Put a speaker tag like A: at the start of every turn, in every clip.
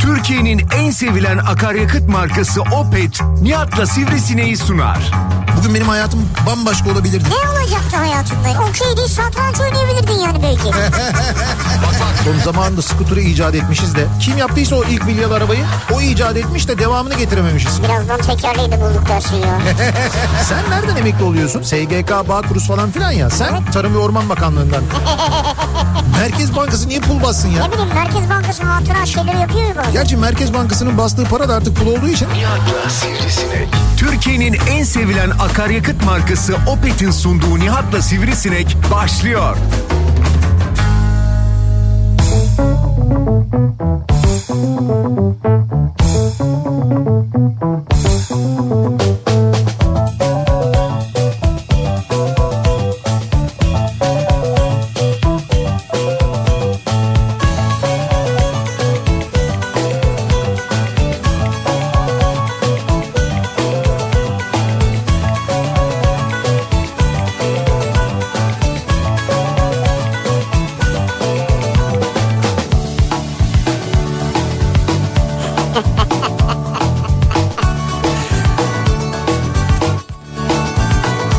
A: Türkiye'nin en sevilen akaryakıt markası Opet, Nihat'la Sivrisine'yi sunar.
B: Bugün benim hayatım bambaşka olabilirdi.
C: Ne olacaktı hayatında? Okey değil satranç oynayabilirdin yani belki.
B: Son zamanında skuturu icat etmişiz de. Kim yaptıysa o ilk milyar arabayı o icat etmiş de devamını getirememişiz.
C: Birazdan tekerleği de bulduk dersin ya.
B: Sen nereden emekli oluyorsun? SGK, Bağkuruz falan filan ya. Sen Tarım ve Orman Bakanlığından. Merkez Bankası niye pul bassın ya?
C: ne bileyim Merkez Bankası'nın hatıra şeyleri yapıyor ya bazen.
B: Gerçi Merkez Bankası'nın bastığı para da artık pul olduğu için
A: Türkiye'nin en sevilen akaryakıt markası Opet'in sunduğu Nihat'la Sivrisinek başlıyor.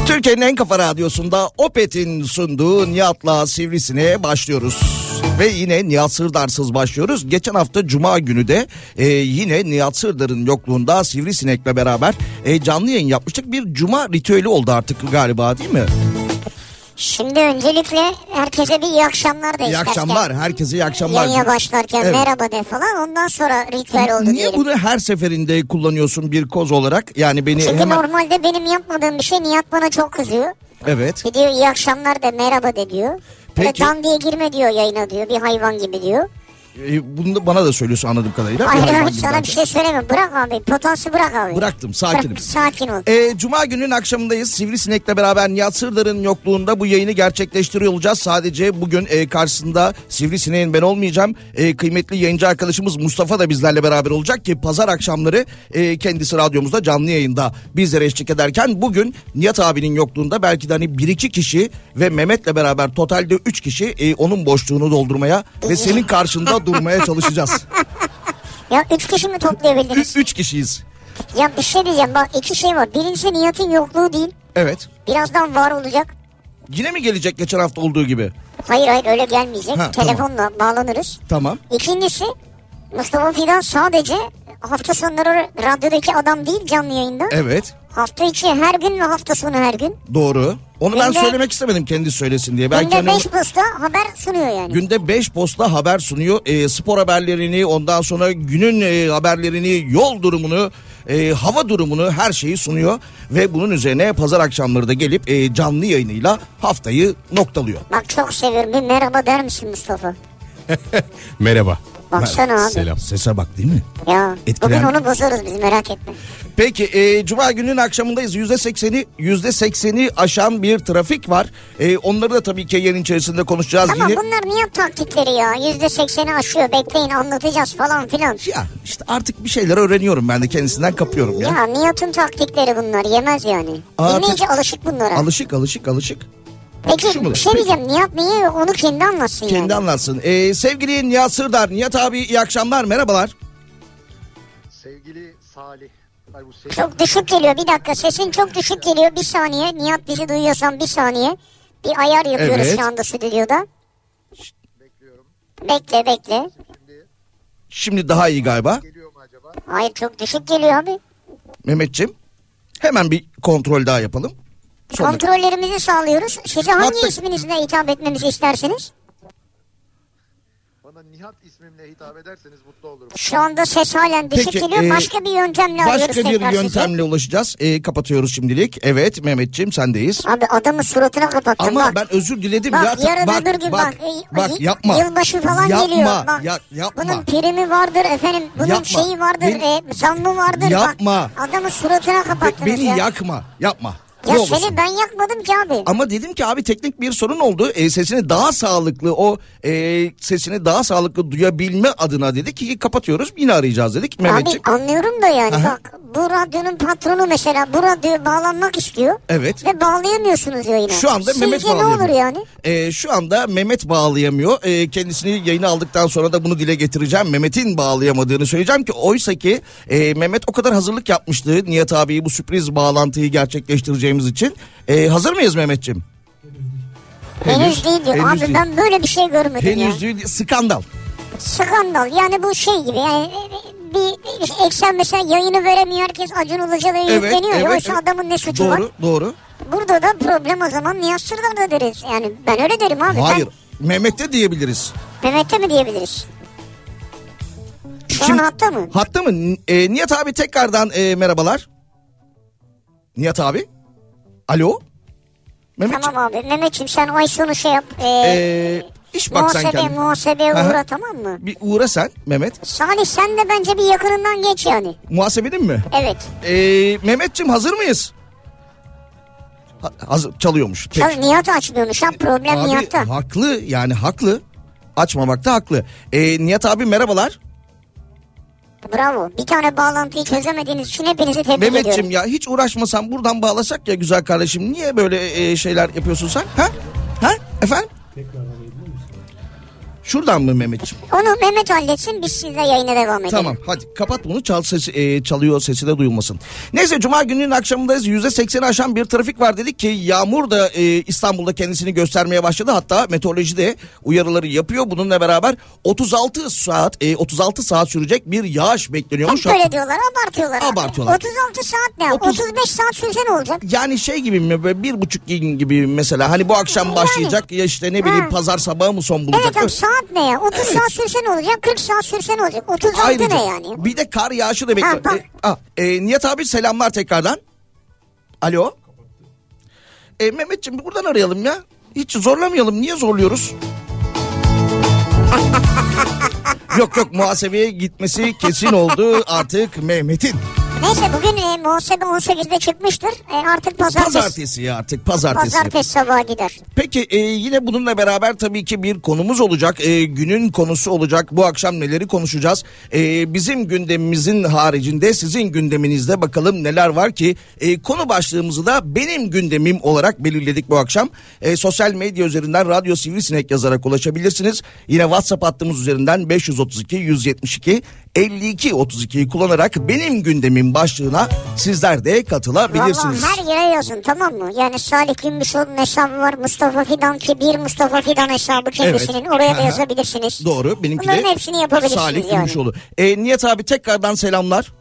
D: Türkiye'nin en kafa radyosunda Opet'in sunduğu Nihat'la Sivrisine'ye başlıyoruz. Ve yine Nihat Sırdar'sız başlıyoruz. Geçen hafta Cuma günü de e, yine Nihat Sırdar'ın yokluğunda Sivrisinek'le beraber e, canlı yayın yapmıştık. Bir Cuma ritüeli oldu artık galiba değil mi?
C: Şimdi öncelikle herkese bir iyi akşamlar da
D: İyi
C: istersen.
D: akşamlar. Herkese iyi akşamlar.
C: Yayına başlarken
D: Evet.
C: merhaba de falan ondan sonra ritüel oldu
D: Niye
C: diyelim.
D: bunu her seferinde kullanıyorsun bir koz olarak? Yani beni
C: Çünkü
D: hemen...
C: normalde benim yapmadığım bir şey Nihat bana çok kızıyor.
D: Evet.
C: Bir diyor iyi akşamlar de merhaba de diyor. Böyle
D: Peki.
C: dan diye girme diyor yayına diyor bir hayvan gibi diyor.
D: E, bunu da bana da söylüyorsun anladığım kadarıyla.
C: Hayır
D: Hayvan
C: hayır
D: gibi
C: sana
D: davran.
C: bir şey söyleme bırak abi potansı bırak abi.
D: Bıraktım, sakinim.
C: Bırak, sakin ol.
D: E, Cuma günün akşamındayız. Sivrisinek'le beraber Nihat Sırdar'ın yokluğunda bu yayını gerçekleştiriyor olacağız. Sadece bugün e, karşısında Sivrisinek'in ben olmayacağım. E, kıymetli yayıncı arkadaşımız Mustafa da bizlerle beraber olacak ki pazar akşamları e, kendisi radyomuzda canlı yayında bizlere eşlik ederken bugün Nihat abinin yokluğunda belki de hani bir iki kişi ve Mehmet'le beraber totalde üç kişi e, onun boşluğunu doldurmaya ve senin karşında durmaya çalışacağız.
C: Ya üç kişi mi
D: Biz
C: toplayabildiniz?
D: üç kişiyiz.
C: ya bir şey diyeceğim bak iki şey var. Birincisi Nihat'ın yokluğu değil.
D: Evet.
C: Birazdan var olacak.
D: Yine mi gelecek geçen hafta olduğu gibi?
C: Hayır hayır öyle gelmeyecek.
D: Ha, tamam.
C: Telefonla bağlanırız.
D: Tamam.
C: İkincisi Mustafa Fidan sadece hafta sonları radyodaki adam değil canlı yayında.
D: Evet.
C: Hafta içi her gün ve hafta sonu her gün.
D: Doğru. Onu ben
C: Günde-
D: söylemek istemedim kendi söylesin diye. Belki
C: Günde
D: hani
C: 5 posta haber sunuyor yani.
D: günde 5 posta haber sunuyor. Ee, spor haberlerini, ondan sonra günün e, haberlerini, yol durumunu, e, hava durumunu her şeyi sunuyor ve bunun üzerine pazar akşamları da gelip e, canlı yayınıyla haftayı noktalıyor.
C: Bak çok seviyorum. Bir merhaba der misin Mustafa?
E: Merhaba.
C: Baksana abi.
E: Selam.
D: Sese bak değil mi?
C: Ya
D: Etkilen-
C: bugün onu bozarız biz merak etme.
D: Peki e, Cuma gününün akşamındayız. Yüzde sekseni, yüzde sekseni aşan bir trafik var. E, onları da tabii ki yayın içerisinde konuşacağız.
C: Tamam
D: Yine-
C: bunlar niye taktikleri ya? Yüzde sekseni aşıyor bekleyin anlatacağız falan filan.
D: Ya işte artık bir şeyler öğreniyorum ben de kendisinden kapıyorum ya.
C: Ya Nihat'ın taktikleri bunlar yemez yani.
D: Aa,
C: Dinleyici alışık bunlara.
D: Alışık alışık alışık.
C: Peki
D: Şu mu?
C: bir şey
D: Peki.
C: diyeceğim Nihat niye onu kendi anlatsın yani.
D: Kendi anlatsın. Ee, sevgili Nihat Sırdar, Nihat abi iyi akşamlar, merhabalar.
F: Sevgili Salih. Ay bu sevgili
C: Çok düşük geliyor bir dakika sesin çok düşük geliyor bir saniye. Nihat bizi duyuyorsan bir saniye. Bir ayar yapıyoruz
D: Evet.
C: şu anda stüdyoda.
F: bekliyorum.
C: Bekle bekle.
F: Şimdi
D: Şimdi daha iyi galiba
F: geliyor mu acaba?
C: Hayır çok düşük geliyor abi.
D: Mehmetçim. Hemen bir kontrol daha yapalım. Sonra-
C: Kontrollerimizi sağlıyoruz. Size hangi
D: Hatta-
C: isminizle hitap etmemizi istersiniz?
F: Bana Nihat ismimle hitap ederseniz mutlu olurum.
C: Şu anda ses halen düşük
D: Peki,
C: geliyor.
D: e,
C: başka bir yöntemle arıyoruz
D: Başka bir
C: tekrar sizi.
D: yöntemle ulaşacağız. Ee, kapatıyoruz şimdilik. Evet Mehmetçim sendeyiz.
C: Abi adamın suratına kapattım
D: Ama
C: bak.
D: ben özür diledim
C: Bak,
D: ya.
C: yarın öbür gün bak,
D: bak,
C: e,
D: bak,
C: y-
D: yapma.
C: yılbaşı falan
D: yapma,
C: geliyor, bak.
D: ya- yapma.
C: Bunun primi vardır efendim. Bunun
D: Yapma.
C: şeyi vardır.
D: Beni-
C: e, zammı vardır.
D: Yapma.
C: Bak, adamın suratına
D: Be-
C: kapattınız
D: beni
C: ya.
D: yakma, yapma.
C: Ya
D: Ne olursun.
C: seni ben yakmadım ki abi.
D: Ama dedim ki abi teknik bir sorun oldu. E, sesini daha sağlıklı o e, sesini daha sağlıklı duyabilme adına dedik ki kapatıyoruz yine arayacağız dedik
C: Abi
D: Mehmetciğim.
C: anlıyorum da yani bak bu radyonun patronu mesela bu radyoya bağlanmak istiyor.
D: Evet.
C: Ve bağlayamıyorsunuz yayına.
D: Şu anda
C: Sizce
D: Mehmet
C: ne
D: bağlayamıyor.
C: olur yani?
D: E, şu anda Mehmet bağlayamıyor. E, kendisini yayına aldıktan sonra da bunu dile getireceğim. Mehmet'in bağlayamadığını söyleyeceğim ki oysa ki e, Mehmet o kadar hazırlık yapmıştı. Nihat abiyi bu sürpriz bağlantıyı gerçekleştireceğimiz için. E, hazır mıyız Mehmetciğim?
C: Henüz, değil diyor. abi
D: henüz değil.
C: ben böyle bir şey görmedim ya.
D: Henüz değil. Skandal.
C: Skandal yani bu şey gibi yani e, bir eksen mesela yayını veremiyor herkes Acun Ilıcalı'ya yükleniyor. ya. Oysa adamın ne suçu
D: doğru,
C: var?
D: Doğru.
C: Burada da problem o zaman Nihat Sırdar'da deriz. Yani ben öyle derim abi.
D: Hayır. Mehmet'te diyebiliriz.
C: Ben Mehmet'te mi diyebiliriz? Şu
D: Kim-
C: an hatta mı?
D: Hatta mı? N- e, Nihat abi tekrardan e, merhabalar. Nihat abi. Alo. Mehmet.
C: Tamam abi Mehmetciğim sen ay sonu şey yap. E,
D: E, iş bak sen
C: muhasebe
D: kendine.
C: muhasebeye
D: Aha.
C: uğra tamam mı?
D: Bir uğra sen Mehmet.
C: Salih sen de bence bir yakınından geç yani.
D: Muhasebenin mi?
C: Evet.
D: E, Mehmetçim hazır mıyız? Ha- hazır çalıyormuş. Peki. E,
C: Ya Nihat açmıyormuş ha problem
D: Abi,
C: Nihat'ta.
D: haklı yani haklı. Açmamakta haklı. E, Nihat abi merhabalar.
C: Bravo. Bir tane bağlantıyı çözemediğiniz için hepinizi tebrik
D: Mehmetçim
C: ediyorum.
D: ya hiç uğraşmasan buradan bağlasak ya güzel kardeşim. Niye böyle e, şeyler yapıyorsun sen? Ha? Ha? Efendim? Şuradan mı Mehmetçim?
C: Onu Mehmet halletsin biz sizle yayına devam edelim.
D: Tamam hadi kapat bunu çal sesi, e, çalıyor sesi de duyulmasın. Neyse cuma gününün akşamındayız yüzde sekseni aşan bir trafik var dedik ki yağmur da e, İstanbul'da kendisini göstermeye başladı. Hatta meteoroloji de uyarıları yapıyor bununla beraber 36 saat e, 36 saat sürecek bir yağış bekleniyormuş.
C: Hep böyle diyorlar abartıyorlar. abi.
D: Abartıyorlar.
C: 36 saat ne?
D: Otuz-
C: 35 saat sürse ne olacak?
D: Yani şey gibi mi böyle bir buçuk gün gibi mesela hani bu akşam başlayacak ya işte ne bileyim
C: Ha.
D: pazar sabahı mı son bulacak?
C: Evet abi saat ne ya? 30 saat sürse ne olacak? 40 saat sürse ne olacak? 36
D: Ayrıca
C: ne yani?
D: bir de kar yağışı da bekliyor.
C: Ha, bak.
D: E, ah, e, Nihat abi selamlar tekrardan. Alo. E, Mehmetciğim buradan arayalım ya. Hiç zorlamayalım. Niye zorluyoruz? yok yok muhasebeye gitmesi kesin oldu artık Mehmet'in.
C: Neyse bugün e, muhasebe 18'de çıkmıştır. E, artık pazartesi.
D: Pazartesi ya artık pazartesi.
C: Pazartesi sabahı gider.
D: Peki e, yine bununla beraber tabii ki bir konumuz olacak. E, günün konusu olacak. Bu akşam neleri konuşacağız? E, bizim gündemimizin haricinde sizin gündeminizde bakalım neler var ki? E, konu başlığımızı da benim gündemim olarak belirledik bu akşam. E, sosyal medya üzerinden Radyo Sivrisinek yazarak ulaşabilirsiniz. Yine WhatsApp hattımız üzerinden 532 172 52 32'yi kullanarak benim gündemim başlığına sizler de katılabilirsiniz.
C: Valla her yere yazın tamam mı? Yani Salih Gümüşoğlu'nun hesabı var. Mustafa Fidan ki bir Mustafa Fidan hesabı kendisinin. Oraya da
D: Aha.
C: yazabilirsiniz.
D: Doğru benimki
C: Bunların
D: de
C: hepsini yapabilirsiniz
D: Salih
C: yani.
D: Gümüşoğlu. E, Nihat abi tekrardan selamlar.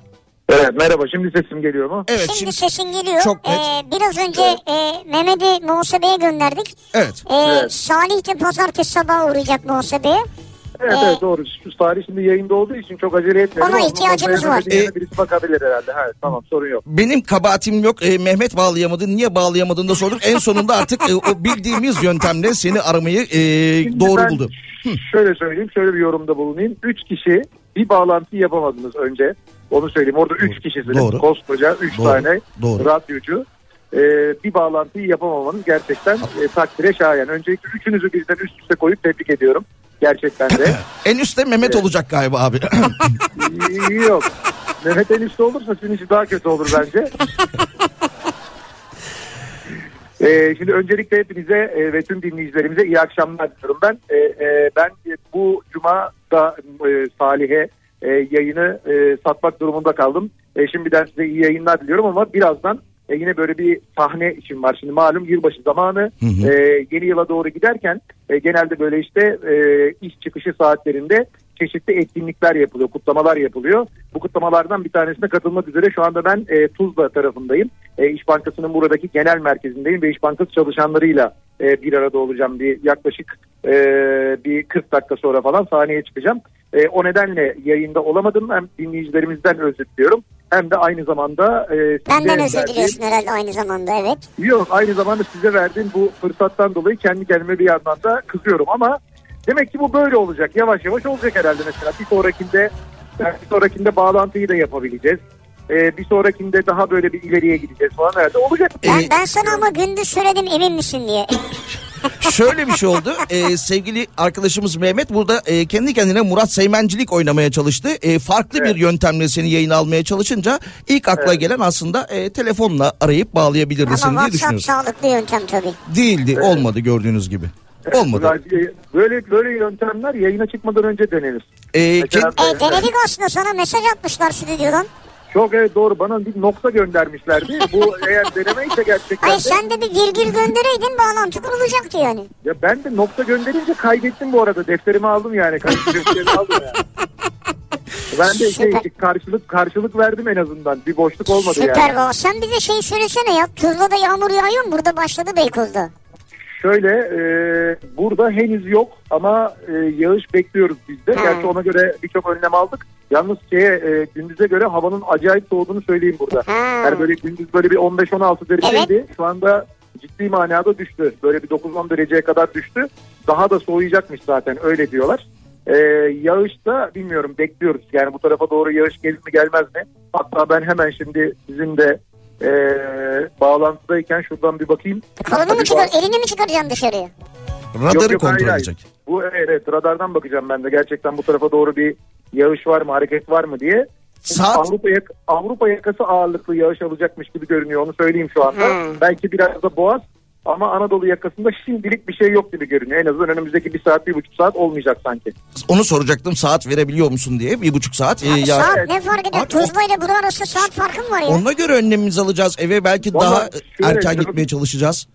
F: Evet merhaba şimdi sesim geliyor mu?
D: Evet
C: şimdi,
D: şimdi,
C: sesin geliyor.
D: Çok net.
C: Ee, biraz önce e, Mehmet'i muhasebeye gönderdik.
D: Evet.
C: Ee,
F: Evet.
C: Salih de pazartesi sabah uğrayacak muhasebeye.
F: Evet
C: Ee,
F: evet doğru. Şu tarih şimdi yayında olduğu için çok acele etmedim.
C: Ona
F: Ama
C: ihtiyacımız
F: olmaya
C: var.
F: dediğine
D: Ee,
F: Birisi bakabilir herhalde. Ha, tamam sorun yok.
D: benim kabahatim yok. E, Mehmet bağlayamadın. Niye bağlayamadığını da sorduk. En sonunda artık e, o bildiğimiz yöntemle seni aramayı e,
F: Şimdi
D: doğru
F: ben
D: buldu.
F: Şöyle söyleyeyim, şöyle bir yorumda bulunayım. Üç kişi bir bağlantı yapamadınız önce. Onu söyleyeyim. Orada üç kişisiniz.
D: Doğru.
F: Koskoca üç
D: Doğru.
F: tane
D: Doğru.
F: radyocu. Ee, bir bağlantıyı yapamamanız gerçekten e, takdire şayan. Öncelikle üçünüzü birden üst üste koyup tebrik ediyorum. Gerçekten de.
D: En üstte Mehmet
F: Evet.
D: olacak galiba abi.
F: İyi, iyi yok. Mehmet en üstte olursa sizin için daha kötü olur bence. Ee, şimdi öncelikle hepinize e, ve tüm dinleyicilerimize iyi akşamlar diliyorum. Ben e, e, ben e, bu cuma da e, Salih'e e, yayını e, satmak durumunda kaldım. E, şimdiden size iyi yayınlar diliyorum ama birazdan e, yine böyle bir sahne için var. Şimdi malum yılbaşı zamanı e, yeni yıla doğru giderken e, genelde böyle işte e, iş çıkışı saatlerinde çeşitli etkinlikler yapılıyor, kutlamalar yapılıyor. Bu kutlamalardan bir tanesine katılmak üzere şu anda ben e, Tuzla tarafındayım. E, İş Bankası'nın buradaki genel merkezindeyim ve İş Bankası çalışanlarıyla e, bir arada olacağım. Bir yaklaşık e, bir 40 dakika sonra falan sahneye çıkacağım. E, o nedenle yayında olamadım. Hem dinleyicilerimizden özür diliyorum hem de aynı zamanda e, size
C: Benden özür
F: verdiğim-
C: diliyorsun herhalde aynı zamanda evet.
F: Yok aynı zamanda size verdiğim bu fırsattan dolayı kendi kendime bir yandan da kızıyorum ama demek ki bu böyle olacak. Yavaş yavaş olacak herhalde mesela. Bir sonrakinde bir sonrakinde bağlantıyı da yapabileceğiz. Ee, e, bir sonrakinde daha böyle bir ileriye gideceğiz falan herhalde olacak.
D: E,
C: Ben, ben sana ama gündüz söyledim emin misin diye.
D: Şöyle bir şey oldu. Ee, sevgili arkadaşımız Mehmet burada e, kendi kendine Murat Seymencilik oynamaya çalıştı. E, farklı bir yöntemle seni yayına almaya çalışınca ilk akla gelen aslında e, telefonla arayıp bağlayabilirdi seni
C: ama
D: diye
C: WhatsApp
D: düşünüyorsun.
C: sağlıklı yöntem tabii. E,
D: Değildi. Olmadı gördüğünüz gibi. Olmadı.
F: Bunlar, e, Böyle böyle yöntemler yayına çıkmadan önce denenir.
D: Ee,
F: Mesela
D: kend-
C: E, denedik aslında sana mesaj atmışlar stüdyodan.
F: Çok evet doğru bana bir nokta göndermişlerdi. Bu eğer denemeyse gerçekten
C: Hayır
F: de,
C: sen de bir virgül göndereydin bağlantı kurulacaktı yani.
F: ya ben de nokta gönderince kaydettim bu arada. Defterimi aldım yani. Karşı- Defterimi aldım yani. Ben de şey,
C: Süper.
F: karşılık karşılık verdim en azından. Bir boşluk olmadı yani.
C: Süper baba. Sen bize şey söylesene ya. Tuzla'da yağmur yağıyor mu? Burada başladı Beykoz'da.
F: Şöyle e, burada henüz yok ama e, yağış bekliyoruz biz de. Gerçi ona göre birçok önlem aldık. Yalnız şeye, e, gündüze göre havanın acayip soğuduğunu söyleyeyim burada.
C: Ha.
F: Yani böyle gündüz böyle bir 15-16 dereceydi. Şu anda ciddi manada düştü. Böyle bir 9-10 dereceye kadar düştü. Daha da soğuyacakmış zaten öyle diyorlar. E, yağış da bilmiyorum bekliyoruz. Yani bu tarafa doğru yağış gelir mi gelmez mi? Hatta ben hemen şimdi sizin de e, bağlantıdayken şuradan bir bakayım. Hani
C: Kolunu mu
F: Tabii
C: çıkar, elini mi çıkaracaksın dışarıya?
F: Yok,
D: radarı
F: yok, hayır,
D: kontrol
F: hayır.
D: edecek.
F: Bu evet, evet radardan bakacağım ben de gerçekten bu tarafa doğru bir yağış var mı hareket var mı diye.
D: Saat
F: Avrupa, yak- Avrupa yakası ağırlıklı yağış alacakmış gibi görünüyor onu söyleyeyim şu anda. Belki biraz da boğaz ama Anadolu yakasında şimdilik bir şey yok gibi görünüyor. En azından önümüzdeki bir saat bir buçuk saat olmayacak sanki.
D: onu soracaktım saat verebiliyor musun diye bir buçuk saat. Ee, ya-
C: saat ne fark eder?
D: Abi,
C: Tuzla ile burada arası saat farkı mı var ya?
D: Ona göre önlemimizi alacağız eve belki
F: Vallahi
D: daha
F: şöyle
D: erken
F: canım-
D: gitmeye çalışacağız.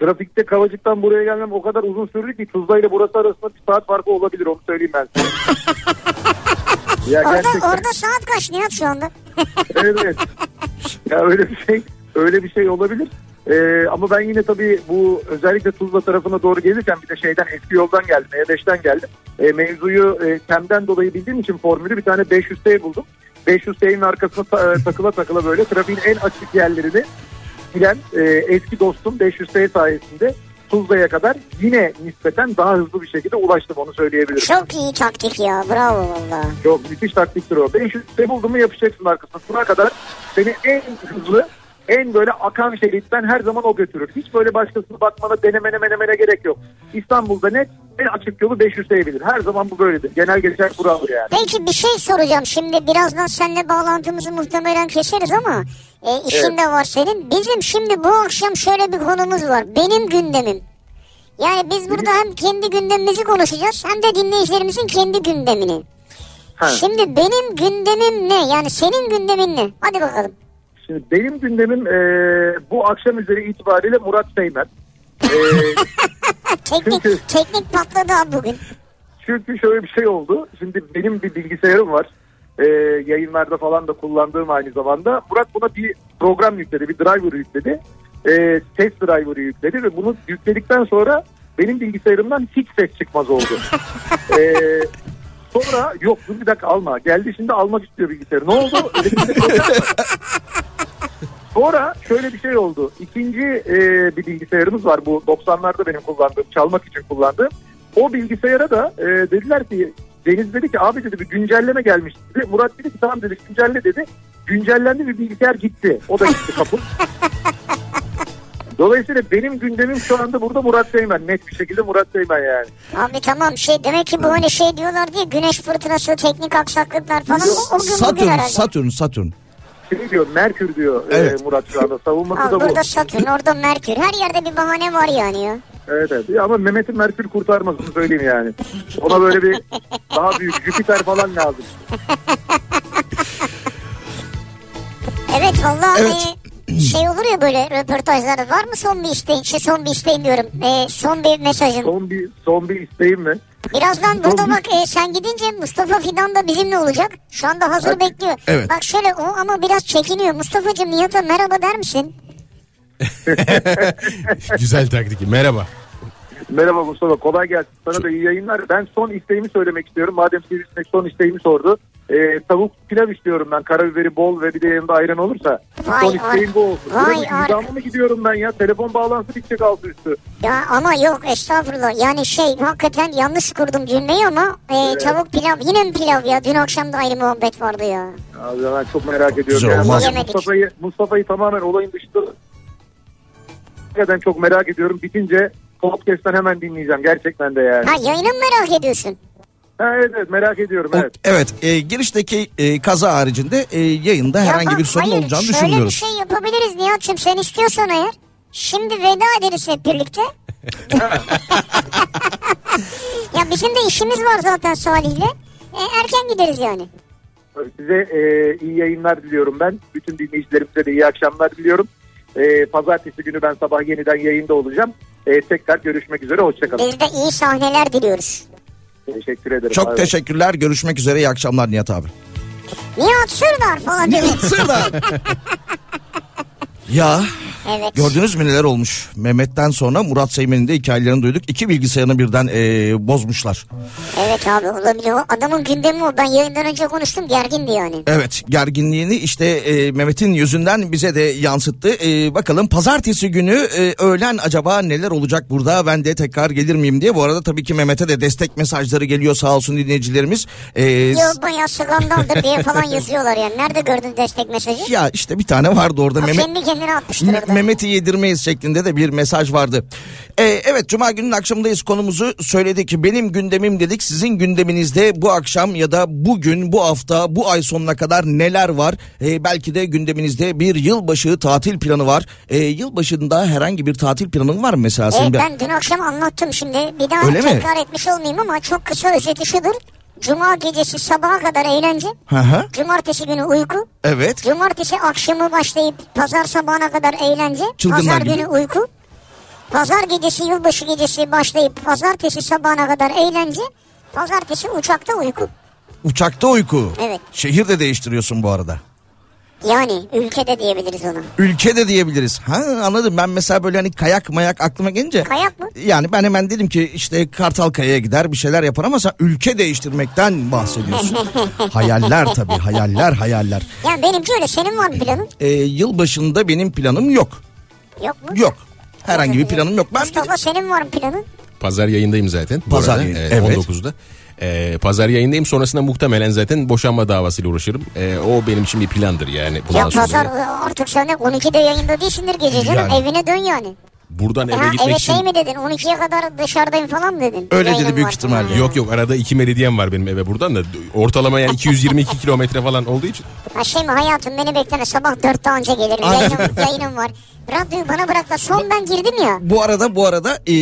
F: Trafikte Kavacık'tan buraya gelmem o kadar uzun sürdü ki Tuzla ile burası arasında bir saat farkı olabilir onu söyleyeyim ben size. ya
C: Orada,
F: gerçekten.
C: orada saat kaç Nihat şu anda?
F: evet evet. Ya öyle bir şey öyle bir şey olabilir. Ee, ama ben yine tabii bu özellikle Tuzla tarafına doğru gelirken bir de şeyden eski yoldan geldim. E5'ten geldim. Ee, mevzuyu e, temden dolayı bildiğim için formülü bir tane 500T buldum. 500T'nin arkasına ta- e, takıla takıla böyle trafiğin en açık yerlerini bilen e, eski dostum 500T sayesinde Tuzla'ya kadar yine nispeten daha hızlı bir şekilde ulaştım onu söyleyebilirim.
C: Çok iyi taktik ya. Bravo valla.
F: Çok müthiş taktiktir o. 500 te buldun mu yapışacaksın arkasına. Buna kadar seni en hızlı, en böyle akan şeritten her zaman o götürür. Hiç böyle başkasına bakmana, denemene, menemene gerek yok. İstanbul'da net en açık yolu 500 T'ye bilir. Her zaman bu böyledir. Genel geçer kuraldır yani.
C: Peki bir şey soracağım şimdi. Birazdan seninle bağlantımızı muhtemelen keseriz ama e, işin
F: Evet.
C: de var senin. Bizim şimdi bu akşam şöyle bir konumuz var. Benim gündemim. Yani biz burada hem kendi gündemimizi konuşacağız hem de dinleyicilerimizin kendi gündemini.
F: Ha.
C: Şimdi benim gündemim ne? Yani senin gündemin ne? Hadi bakalım.
F: Şimdi benim gündemim e, bu akşam üzeri itibariyle Murat Seymen. E, Çünkü-
C: Teknik, teknik patladı abi bugün.
F: çünkü şöyle bir şey oldu. Şimdi benim bir bilgisayarım var. E, yayınlarda falan da kullandığım aynı zamanda. Murat buna bir program yükledi, bir driver yükledi. e, ses driver'ı yükledi ve bunu yükledikten sonra benim bilgisayarımdan hiç ses çıkmaz oldu. e, sonra yok dur bir dakika alma. Geldi şimdi almak istiyor bilgisayarı. Ne oldu? Öyle bir şey oldu. sonra şöyle bir şey oldu. İkinci e, bir bilgisayarımız var bu 90'larda benim kullandığım, çalmak için kullandığım. O bilgisayara da e, dediler ki Deniz dedi ki abi dedi bir güncelleme gelmiş dedi. Murat dedi ki tamam dedi güncelle dedi. Güncellendi bir bilgisayar gitti. O da gitti kapı. Dolayısıyla benim gündemim şu anda burada Murat Seymen. Net bir şekilde Murat Seymen yani.
C: Abi tamam şey demek ki bu hani şey diyorlar diye güneş fırtınası, teknik aksaklıklar falan o, o gün bugün
D: Satürn,
C: herhalde.
D: Satürn, Satürn.
F: Şey diyor Merkür diyor e,
D: Evet.
F: Murat şu anda. Savunması
C: Al,
F: da bu.
C: burada Satürn, orada Merkür. Her yerde bir bahane var yani ya.
F: Evet, evet. Ya Ama Mehmet'in Merkür kurtarmasını söyleyeyim yani. Ona böyle bir daha büyük Jüpiter falan lazım.
C: Evet vallahi
D: Evet.
C: hani şey olur ya böyle röportajlarda var mı son bir isteğin? Şey son bir isteğin diyorum. E, son bir mesajın.
F: Son bir, son bir isteğim mi?
C: Birazdan burada
F: Son-
C: bak e, sen gidince Mustafa Fidan da bizimle olacak. Şu anda hazır bekliyor.
E: Evet.
C: Bak şöyle o ama biraz çekiniyor. Mustafa'cığım Nihat'a merhaba der misin?
E: Güzel taktik. Merhaba.
F: Merhaba Mustafa kolay gelsin. Sana da iyi yayınlar. Ben son isteğimi söylemek istiyorum. Madem sivrisinek son isteğimi sordu. e, tavuk pilav istiyorum ben. Karabiberi bol ve bir de yanında ayran olursa.
C: Vay
F: Son
C: ar-
F: isteğim bu olsun.
C: vay
F: Vay
C: ar-
F: mı gidiyorum ben ya? Telefon bağlantısı bitecek altı üstü.
C: Ya ama yok estağfurullah. Yani şey hakikaten yanlış kurdum cümleyi ama e, tavuk pilav yine mi pilav ya? Dün akşam da ayrı muhabbet vardı ya.
F: Abi ben çok merak ediyorum.
D: Güzel
F: Yani
D: olmaz.
F: ben Mustafa'yı, Mustafa'yı tamamen olayın dışında gerçekten çok merak ediyorum. Bitince podcast'ten hemen dinleyeceğim gerçekten de yani.
C: Ha yayını mı merak ediyorsun?
F: Ha, evet, evet merak ediyorum
D: O-
F: evet.
D: Evet, e, girişteki e, kaza haricinde e, yayında
C: Ya
D: herhangi
C: bak,
D: bir sorun
C: hayır,
D: olacağını
C: Şöyle bir
D: düşünmüyoruz.
C: şey yapabiliriz Nihat'cığım sen istiyorsan eğer. Şimdi veda ederiz hep birlikte. ya bizim de işimiz var zaten Salih'le. E, erken gideriz yani.
F: Size e, iyi yayınlar diliyorum ben. Bütün dinleyicilerimize de iyi akşamlar diliyorum. E, pazartesi günü ben sabah yeniden yayında olacağım. E, tekrar görüşmek üzere. Hoşçakalın.
C: Biz de iyi sahneler diliyoruz.
F: Teşekkür
C: şey-
F: ederim. Bay
D: Çok
F: bay.
D: teşekkürler. Görüşmek üzere. İyi akşamlar Nihat abi.
C: Nihat Sırdar falan dedi.
D: Nihat Sırdar. ya
C: Evet.
D: gördünüz mü neler olmuş? Mehmet'ten sonra Murat Seymen'in de hikayelerini duyduk. İki bilgisayarını birden e, bozmuşlar.
C: Evet abi olabilir. O adamın gündemi o. Ben yayından önce konuştum gergindi yani.
D: Evet gerginliğini işte e, Mehmet'in yüzünden bize de yansıttı. E, bakalım pazartesi günü e, öğlen acaba neler olacak burada ben de tekrar gelir miyim diye. Bu arada tabii ki Mehmet'e de destek mesajları geliyor sağ olsun dinleyicilerimiz. E,
C: Yok bayağı skandaldır diye falan yazıyorlar yani. Nerede gördün destek mesajı?
D: Ya işte bir tane vardı orada
C: O
D: Mehmet.
C: kendi kendine atmıştır
D: Me-
C: orada.
D: Mehmet'i yedirmeyiz şeklinde de bir mesaj vardı. Ee, evet Cuma gününün akşamındayız konumuzu söyledik. Benim gündemim dedik sizin gündeminizde bu akşam ya da bugün bu hafta bu ay sonuna kadar neler var? Ee, belki de gündeminizde bir yılbaşı tatil planı var. Ee, yılbaşında herhangi bir tatil planın var mı mesela? senin?
C: Evet,
D: Bir-
C: E, ben dün akşam anlattım şimdi. Bir daha
D: Öyle mi?
C: tekrar etmiş olmayayım ama çok kısa özeti şudur. Cuma gecesi sabaha kadar eğlence.
D: Hı hı,
C: Cumartesi günü uyku.
D: evet.
C: Cumartesi akşamı başlayıp pazar sabahına kadar eğlence.
D: Çılgınlar
C: pazar
D: gibi.
C: günü uyku. Pazar gecesi yılbaşı gecesi başlayıp pazartesi sabahına kadar eğlence. Pazartesi uçakta uyku.
D: Uçakta uyku.
C: Evet.
D: Şehir de değiştiriyorsun bu arada.
C: Yani ülkede diyebiliriz ona.
D: Ülke de diyebiliriz. Ha anladım ben mesela böyle hani kayak mayak aklıma gelince.
C: Kayak mı?
D: Yani ben hemen dedim ki işte Kartalkaya'ya gider bir şeyler yapar ama sen ülke değiştirmekten bahsediyorsun. hayaller tabii hayaller hayaller.
C: Ya benimki öyle. Senin var mı planın?
D: Ee, yılbaşında benim planım yok.
C: Yok mu?
D: Yok. Herhangi bir planım yok. Ben
C: Mustafa senin var mı planın?
E: Pazar yayındayım zaten. bu
D: Pazar
E: arada.
D: yayını,
E: Evet,
D: evet.
E: 19'da. Ee, pazar yayındayım sonrasında muhtemelen zaten boşanma davasıyla uğraşırım. Ee, o benim için bir plandır yani. Bundan
C: Ya
E: sonra
C: pazar artık sen de 12'de yayında değilsindir gece canım.
E: Yani.
C: Evine dön yani.
E: buradan
C: Ha,
E: eve gitmek
C: evet
E: için...
C: şey mi dedin? 12'ye kadar dışarıdayım falan mı dedin?
D: Öyle dedi
C: Yayınım
D: büyük
C: var.
D: ihtimalle.
E: Yok yok arada iki meridyen var benim eve buradan da ortalama yani 222 kilometre falan olduğu için.
C: Ha, şey mi hayatım beni bekleme sabah 4'te anca gelirim. Yayınım, yayınım var. Radyoyu bana bırak da son ben girdim ya.
D: Bu arada bu arada e,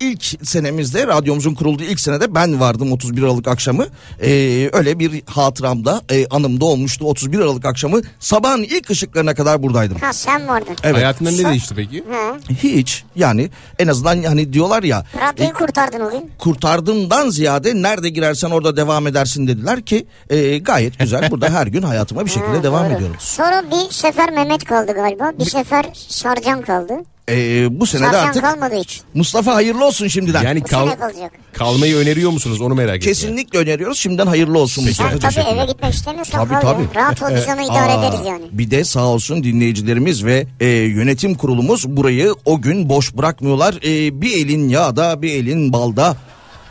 D: ilk senemizde radyomuzun kurulduğu ilk senede ben vardım 31 Aralık akşamı. E, öyle bir hatıramda e, anımda olmuştu 31 Aralık akşamı sabahın ilk ışıklarına kadar buradaydım.
C: Ha sen vardın.
D: Evet.
E: Hayatında ne değişti peki?
C: Ha,
D: Hiç yani en azından hani diyorlar ya
C: radyoyu
D: e,
C: kurtardın o gün.
D: kurtardığımdan ziyade nerede girersen orada devam edersin dediler ki e, gayet güzel burada her gün hayatıma bir şekilde
C: Ha,
D: devam
C: doğru.
D: ediyorum.
C: Sonra bir sefer Mehmet kaldı galiba. Bir sefer Sarcan kaldı.
D: E, bu sene de
C: Sarcan
D: artık
C: kalmadı hiç.
D: Mustafa hayırlı olsun şimdiden.
E: Yani
C: Bu
E: kal,
C: sene şey kalacak.
E: kalmayı öneriyor musunuz onu merak ettim.
D: Kesinlikle öneriyoruz şimdiden hayırlı olsun
C: Sen
D: Mustafa'cığım.
C: tabii eve gitmek istemiyorsan kal
D: Tabii, tabii.
C: ya. Rahat ol biz onu idare
D: Aa,
C: ederiz yani.
D: Bir de sağ olsun dinleyicilerimiz ve e, yönetim kurulumuz burayı o gün boş bırakmıyorlar. E, bir elin yağda bir elin balda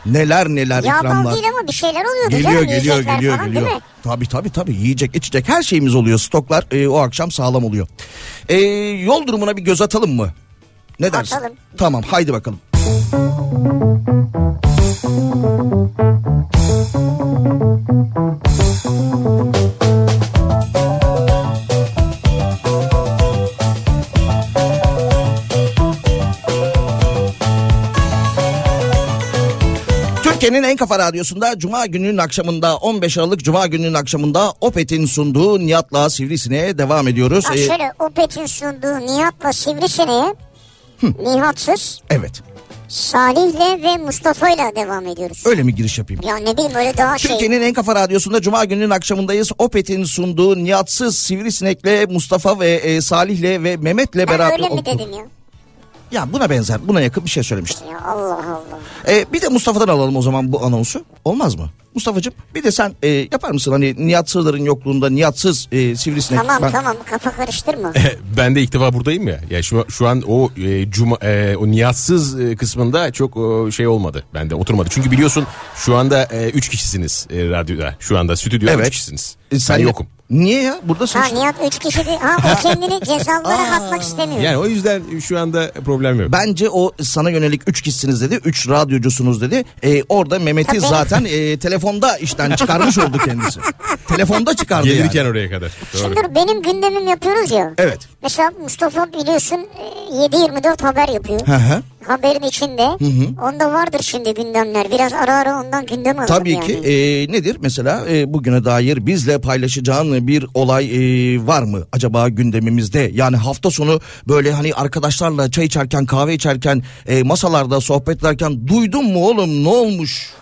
D: neler neler
C: Ya bal
D: ikramlar.
C: değil ama bir şeyler oluyordu
D: Geliyor
C: canım.
D: geliyor
C: yiyecekler
D: geliyor
C: falan,
D: geliyor.
C: Değil mi?
D: Tabii tabii tabii yiyecek içecek her şeyimiz oluyor. Stoklar e, o akşam sağlam oluyor. E, yol durumuna bir göz atalım mı? Ne dersin?
C: Atalım.
D: Tamam haydi bakalım. Türkiye'nin en kafa radyosunda Cuma gününün akşamında 15 Aralık Cuma gününün akşamında Opet'in sunduğu Nihat'la Sivrisine'ye devam ediyoruz.
C: Bak
D: E,
C: şöyle Opet'in sunduğu Nihat'la Sivrisine'ye Nihatsız,
D: evet
C: Salih'le ve Mustafa'yla devam ediyoruz.
D: öyle mi giriş yapayım?
C: Ya ne bileyim öyle daha şey.
D: Türkiye'nin en kafa radyosunda Cuma gününün akşamındayız. Opet'in sunduğu Nihatsız Sivrisinek'le Mustafa ve e, Salih'le ve Mehmet'le
C: Ben
D: beraber...
C: öyle mi
D: okuduk.
C: dedim ya?
D: Ya buna benzer, buna yakın bir şey söylemiştim.
C: Ya Allah Allah.
D: E, bir de Mustafa'dan alalım o zaman bu anonsu. Olmaz mı? Mustafa'cığım bir de sen e, yapar mısın hani Nihat Sırdar'ın yokluğunda Nihatsız e, sivrisinek.
C: Tamam
D: Ben- Eh.
C: tamam kafa karıştırma.
E: ben de ilk defa buradayım ya. Ya şu, şu an o e, cuma e, o niyatsız e, kısmında çok e, şey olmadı. Bende oturmadı. Çünkü biliyorsun şu anda 3 kişisiniz e, radyoda. Şu anda stüdyoda 3
D: Evet.
E: kişisiniz.
D: E,
E: sen yokum.
D: Niye ya? Buradasın
C: Ha
D: işte.
C: Nihat üç kişi de- ha o kendini cezalara katmak istemiyor.
E: Yani o yüzden şu anda problem yok.
D: Bence o sana yönelik 3 kişisiniz dedi. 3 radyocusunuz dedi. E, orada Mehmet'i
C: Tabii.
D: zaten e, telefonda işten çıkarmış oldu kendisi. telefonda çıkardı
E: Gelirken
D: yani.
E: oraya kadar. Doğru.
C: Şimdi dur benim gündemim yapıyoruz ya.
D: Evet.
C: Mesela Mustafa biliyorsun e, 7-24 haber yapıyor.
D: Hı hı.
C: Haberin içinde. Onda vardır şimdi gündemler. Biraz ara ara ondan gündem alırım
D: Tabii
C: yani.
D: ki e, nedir mesela e, bugüne dair bizle paylaşacağın bir olay e, var mı acaba gündemimizde? Yani hafta sonu böyle hani arkadaşlarla çay içerken kahve içerken e, masalarda sohbet ederken duydun mu oğlum ne olmuş?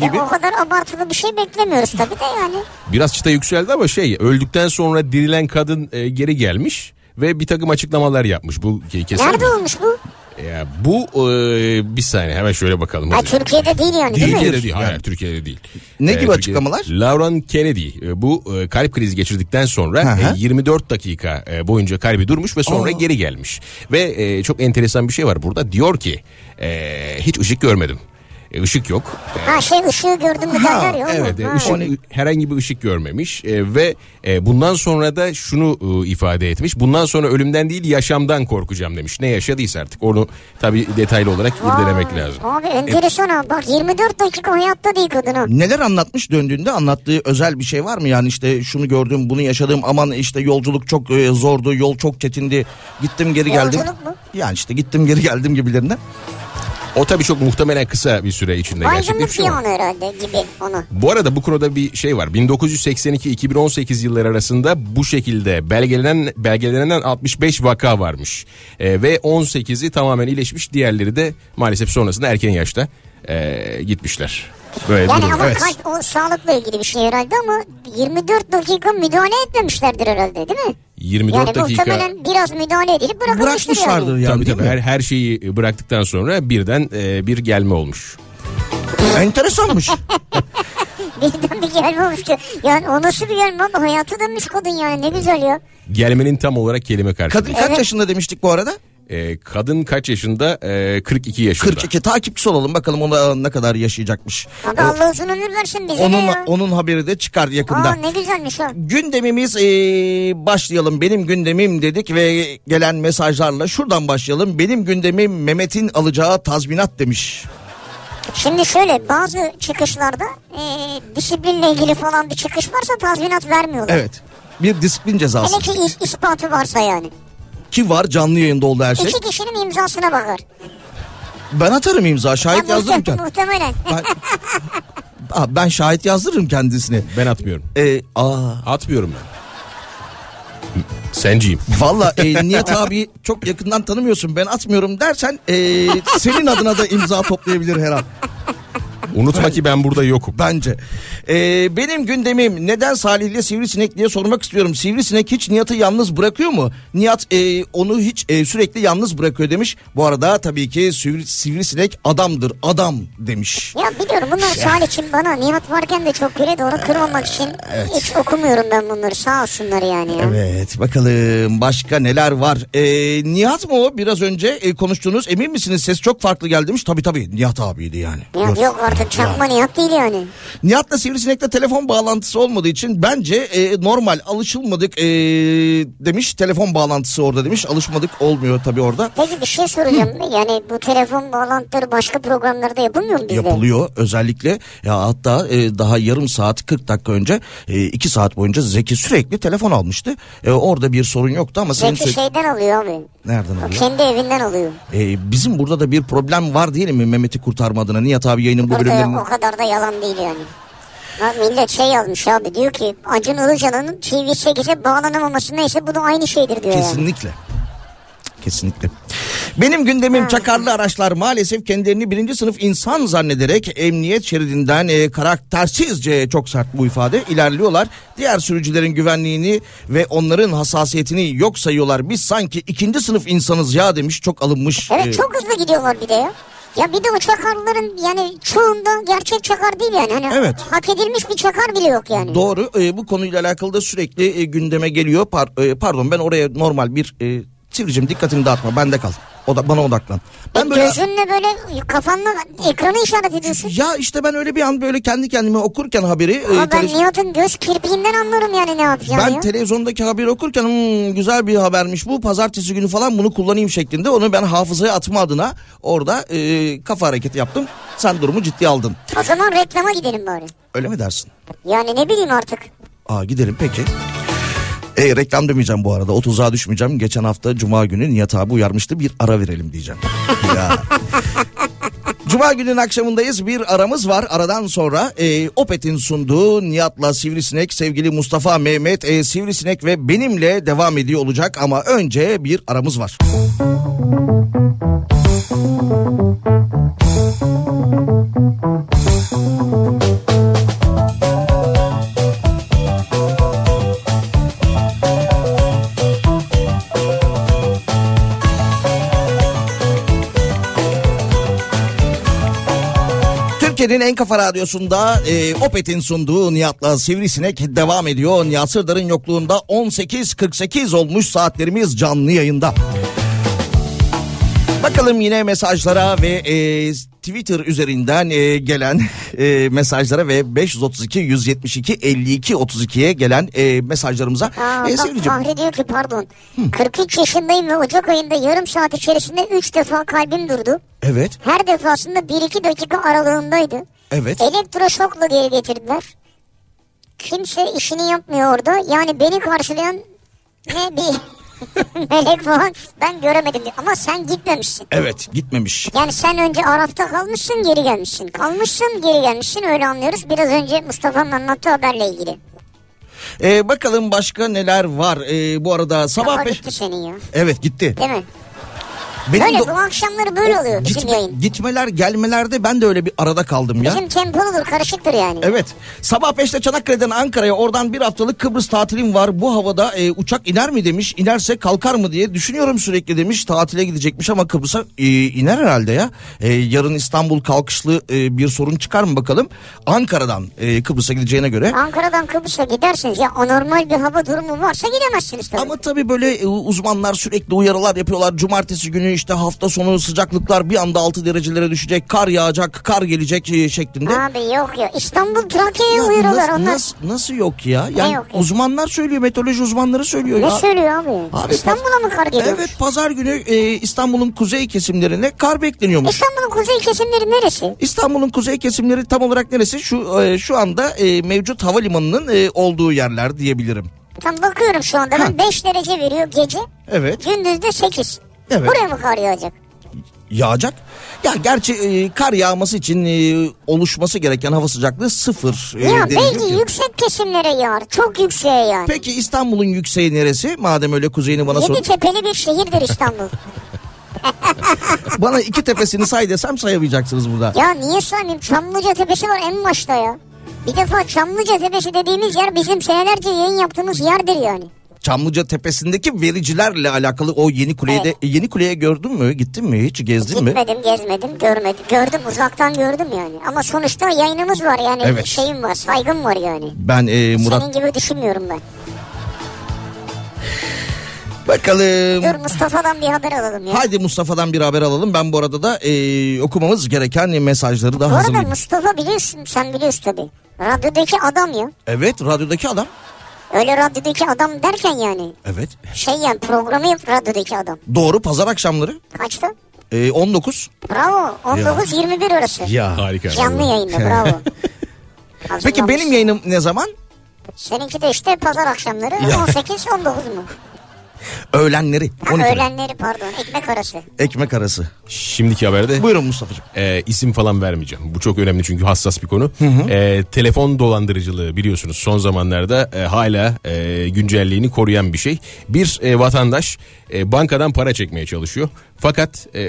C: Ya E, o kadar abartılı bir şey beklemiyoruz tabii de yani.
E: Biraz çıta yükseldi ama şey öldükten sonra dirilen kadın e, geri gelmiş ve bir takım açıklamalar yapmış. Bu ke- kesin.
C: Nerede
E: mi?
C: olmuş bu?
E: Ya bu e, bir saniye hemen şöyle bakalım.
C: Ha,
E: Hadi.
C: Türkiye'de değil yani değil, mi?
E: Türkiye'de değil. Hayır Türkiye'de değil.
D: Ne gibi
E: Türkiye-
D: açıklamalar?
E: Lauren Kennedy e, bu e, kalp krizi geçirdikten
D: Hı
E: sonra
D: hı.
E: e, 24 dakika e, boyunca kalbi durmuş ve sonra geri gelmiş. Ve e, çok enteresan bir şey var burada. Diyor ki e, hiç ışık görmedim. E, Işık yok.
C: Ha şey ışığı gördün mü derler ya. oğlum.
E: Evet, e,
C: Ha.
E: ışık- herhangi bir ışık görmemiş e, ve e, bundan sonra da şunu e, ifade etmiş. Bundan sonra ölümden değil yaşamdan korkacağım demiş. Ne yaşadıysa artık onu tabii detaylı olarak irdelemek
C: Vay,
E: lazım.
C: Abi enteresan ha. Bak 24 dakika hayatta değil kadın ha.
D: Neler anlatmış döndüğünde anlattığı özel bir şey var mı? Yani işte şunu gördüm bunu yaşadım aman işte yolculuk çok e, zordu yol çok çetindi gittim geri geldim.
C: Yolculuk mu?
D: Yani işte gittim geri geldim gibilerinden.
E: O tabii çok muhtemelen kısa bir şey süre içinde
C: Baygınlık
E: gerçekleşiyor.
C: bir
E: ama.
C: an herhalde gibi onu.
E: Bu arada bu konuda bir şey var. 1982-2018 yılları arasında bu şekilde belgelenen belgelenen 65 vaka varmış. E, ve 18'i tamamen iyileşmiş, diğerleri de maalesef sonrasında erken yaşta e, gitmişler. Böyle bir
C: Yani
E: durum.
C: ama
E: Evet.
C: kalp o sağlıkla ilgili bir şey herhalde ama 24 dakika müdahale etmemişlerdir herhalde değil mi?
E: 24
C: Yani
E: dakika.
C: muhtemelen biraz müdahale edilip bırakılmıştır
D: Bırakmışlardır
C: yani.
D: yani.
E: tabii
D: değil
E: tabii
D: mi?
E: her, her şeyi bıraktıktan sonra birden e, bir gelme olmuş.
D: Enteresanmış.
C: Birden bir gelme olmuştu. Yani o nasıl bir gelme ama hayatı dönmüş kadın yani ne güzel ya.
E: Gelmenin tam olarak kelime karşılığı.
D: Kadın
E: Kadın,
D: kaç
C: Evet.
D: yaşında demiştik bu arada?
E: kadın kaç yaşında? E, 42 yaşında.
D: 42 takipçisi olalım bakalım ona ne kadar yaşayacakmış.
C: Abi Allah uzun ömür versin bize de
D: Onun
C: ya.
D: onun haberi de çıkar yakında.
C: Aa ne güzelmiş ha.
D: Gündemimiz ee, başlayalım benim gündemim dedik ve gelen mesajlarla şuradan başlayalım. Benim gündemim Mehmet'in alacağı tazminat demiş.
C: Şimdi şöyle bazı çıkışlarda e, disiplinle ilgili falan bir çıkış varsa tazminat vermiyorlar.
D: Evet bir disiplin cezası
C: Hele ki is- ispatı varsa yani.
D: ki var canlı yayında oldu her şey.
C: İki kişinin imzasına bakar.
D: Ben atarım imza şahit
C: Ya muhtem-
D: yazdırırken.
C: Muhtemelen.
D: Ben, Aa, ben şahit yazdırırım kendisini.
E: Ben atmıyorum.
D: Ee, aa,
E: Atmıyorum ben. Senciyim.
D: Valla e, Nihat abi çok yakından tanımıyorsun ben atmıyorum dersen e, senin adına da imza toplayabilir her an
E: Unutma ki ben burada yokum.
D: bence. E, benim gündemim neden Salih'le Sivrisinek diye sormak istiyorum. Sivrisinek hiç Nihat'ı yalnız bırakıyor mu? Nihat e, onu hiç e, sürekli yalnız bırakıyor demiş. Bu arada tabii ki sivri, Sivrisinek adamdır adam demiş.
C: Ya biliyorum bunlar
D: Şey-
C: Salih için bana Nihat varken de çok güle doğru kırmamak
D: Ee,
C: için hiç okumuyorum ben bunları sağ olsunlar yani. ya.
D: Evet bakalım başka neler var. E, Nihat mı o biraz önce e, konuştuğunuz emin misiniz ses çok farklı geldi demiş. Tabii tabii Nihat abiydi yani.
C: Nihat yok artık çakma Nihat değil yani.
D: Nihat'la Sivrisinek'te telefon bağlantısı olmadığı için bence e, normal alışılmadık e, demiş telefon bağlantısı orada demiş alışmadık olmuyor tabii orada.
C: Peki bir şey soracağım. Yani bu telefon bağlantıları başka programlarda yapılmıyor mu bizde?
D: Yapılıyor özellikle ya hatta e, daha yarım saat 40 dakika önce 2 saat boyunca Zeki sürekli telefon almıştı. E, orada bir sorun yoktu ama senin
C: Zeki şey-
D: sürekli...
C: şeyden alıyor abi.
D: Nereden
C: O
D: alıyor?
C: Kendi evinden alıyor.
D: E, bizim burada da bir problem var diyelim mi Mehmet'i kurtarma adına Nihat abi yayının bu
C: Burada
D: bölümlerinin...
C: o kadar da yalan değil yani. Lan millet şey yazmış abi diyor ki Acun Ilıcalı'nın TV8'e bağlanamaması neyse bu da aynı şeydir diyor yani.
D: Kesinlikle. Kesinlikle. Benim gündemim çakarlı araçlar maalesef kendilerini birinci sınıf insan zannederek emniyet şeridinden e, karaktersizce çok sert bu ifade ilerliyorlar. Diğer sürücülerin güvenliğini ve onların hassasiyetini yok sayıyorlar. Biz sanki ikinci sınıf insanız ya demiş çok alınmış.
C: Evet
D: e,
C: çok hızlı gidiyorlar bir de ya. Ya bir de o çakarların yani çoğunda gerçek çakar değil yani. Hani
D: Evet.
C: Hak edilmiş bir çakar bile yok yani.
D: Doğru. Ee, bu konuyla alakalı da sürekli e, gündeme geliyor. Par- e, pardon ben oraya normal bir e, Sivricim dikkatini dağıtma. Bende kal. O da bana odaklan. Ben
C: E, Gözünle böyle kafanla ekranı işaret ediyorsun.
D: ya işte ben öyle bir an böyle kendi kendime okurken haberi e,
C: Ama ben
D: televiz-
C: Nihat'ın göz kirpiğinden anlarım yani ne yapacağını
D: ben
C: ya.
D: televizyondaki haberi okurken "Hmm, güzel bir habermiş bu pazartesi günü falan bunu kullanayım şeklinde onu ben hafızaya atma adına orada e, kafa hareketi yaptım. Sen durumu ciddiye aldın.
C: O zaman reklama gidelim bari.
D: Öyle mi dersin?
C: Yani ne bileyim artık.
D: Aa gidelim peki. E, reklam demeyeceğim bu arada. O tuzağa düşmeyeceğim. Geçen hafta Cuma günü Nihat abi uyarmıştı. Bir ara verelim diyeceğim. ya. Cuma günün akşamındayız. Bir aramız var. Aradan sonra e, Opet'in sunduğu Nihat'la Sivrisinek, sevgili Mustafa Mehmet, e, Sivrisinek ve benimle devam ediyor olacak. Ama önce bir aramız var. Türkiye'nin en kafa radyosunda e, Opet'in sunduğu Nihat'la Sivrisinek devam ediyor. Nihat Sırdar'ın yokluğunda 18.48 olmuş saatlerimiz canlı yayında. Bakalım yine mesajlara ve e, Twitter üzerinden e, gelen e, mesajlara ve 532 172 52 32'ye gelen e, mesajlarımıza.
C: Aa,
D: E,
C: bak
D: Sivricim,
C: Fahri diyor ki pardon. 43 yaşındayım ve Ocak ayında yarım saat içerisinde 3 defa kalbim durdu.
D: Evet,
C: Her defasında 1-2 dakika aralığındaydı.
D: evet.
C: Elektroşokla geri getirdiler. Kimse işini yapmıyor orada. Yani beni karşılayan ne bir melek falan ben göremedim diyor. Ama sen gitmemişsin.
D: Evet, gitmemiş.
C: Yani sen önce Araf'ta kalmışsın geri gelmişsin. Kalmışsın geri gelmişsin öyle anlıyoruz. Biraz önce Mustafa'nın anlattığı haberle ilgili.
D: E, bakalım başka neler var. E, bu arada sabah...
C: Kafa
D: Beş...
C: gitti senin şey ya.
D: Evet gitti.
C: Değil mi?
D: Benim
C: Böyle
D: de-
C: bu akşamları böyle oluyor bizim
D: Gitme-
C: yayın.
D: Gitmeler gelmelerde ben de öyle bir arada kaldım ya.
C: Bizim tempoludur karışıktır yani.
D: Evet. Sabah 5'te Çanakkale'den Ankara'ya oradan bir haftalık Kıbrıs tatilim var. Bu havada e, uçak iner mi demiş. İnerse kalkar mı diye düşünüyorum sürekli demiş. Tatile gidecekmiş ama Kıbrıs'a e, iner herhalde ya. E, yarın İstanbul kalkışlı e, bir sorun çıkar mı bakalım. Ankara'dan e, Kıbrıs'a gideceğine göre.
C: Ankara'dan Kıbrıs'a gidersiniz ya anormal bir hava durumu varsa gidemezsiniz tabii.
D: Ama tabii böyle e, uzmanlar sürekli uyarılar yapıyorlar. Cumartesi günü işte hafta sonu sıcaklıklar bir anda 6 derecelere düşecek. Kar yağacak, kar gelecek e, şeklinde.
C: Abi yok ya İstanbul Trakya'ya
D: Ya
C: uyarıyorlar
D: nas-
C: onlar.
D: nas- nasıl yok ya? Yani
C: yok ya?
D: uzmanlar söylüyor, meteoroloji uzmanları söylüyor
C: Ne
D: ya.
C: söylüyor abi?
D: Abi,
C: İstanbul'a mı kar geliyor?
D: Evet, pazar günü e, İstanbul'un kuzey kesimlerine kar bekleniyormuş.
C: İstanbul'un kuzey kesimleri neresi?
D: İstanbul'un kuzey kesimleri tam olarak neresi? Şu e, şu anda e, mevcut havalimanının e, olduğu yerler diyebilirim.
C: Tam bakıyorum şu anda ben 5 derece veriyor gece.
D: Evet.
C: Gündüz de 8.
D: Evet.
C: Buraya mı kar yağacak?
D: Yağacak. Ya gerçi e, kar yağması için e, oluşması gereken hava sıcaklığı sıfır. e,
C: ya
D: derece
C: belki
D: ki.
C: yüksek kesimlere yağar. Çok yükseğe yağar.
D: Peki İstanbul'un yükseği neresi? Madem öyle kuzeyini bana sor.
C: Yedi tepeli bir şehirdir İstanbul.
D: Bana iki tepesini say desem sayamayacaksınız burada.
C: ya niye saymayayım? Çamlıca Tepesi var en başta ya. Bir defa Çamlıca Tepesi dediğimiz yer bizim senelerce yayın yaptığımız yerdir yani.
D: Çamlıca tepesindeki vericilerle alakalı o yeni kuleye de e, yeni kuleye gördün mü? Gittin mi hiç? Gezdin mi?
C: Gitmedim, gezmedim, görmedim. Gördüm, uzaktan gördüm yani. Ama sonuçta yayınımız var yani.
D: Evet.
C: Şeyim var, saygım var yani.
D: Ben e, Murat
C: Senin gibi düşünmüyorum ben. Dur
D: bakalım.
C: Mustafa'dan bir haber alalım ya.
D: Haydi Mustafa'dan bir haber alalım. Ben bu arada da e, okumamız gereken mesajları da
C: Bu arada
D: hazırlayayım.
C: Mustafa biliyorsun, sen biliyorsun tabii. Radyodaki adam ya.
D: Evet, radyodaki adam.
C: Öyle radyodaki adam derken yani.
D: Evet.
C: Şey yani programı yap radyodaki adam.
D: Doğru pazar akşamları
C: Kaçtı?
D: e, 19.
C: Bravo. 19-21 arası.
E: Harika.
C: Canlı yayında bravo.
D: Peki
C: Hazırlamış.
D: benim yayınım ne zaman?
C: Seninki de işte pazar akşamları 18-19 mu?
D: Öğlenleri.
C: Ha,
D: 12.
C: öğlenleri pardon ekmek arası.
D: Ekmek arası.
E: Şimdiki haberde
D: Buyurun Mustafa'cığım.
E: e, isim falan vermeyeceğim. Bu çok önemli çünkü hassas bir konu. E, telefon dolandırıcılığı biliyorsunuz son zamanlarda e, hala e, güncelliğini koruyan bir şey. Bir e, vatandaş e, bankadan para çekmeye çalışıyor. Fakat e,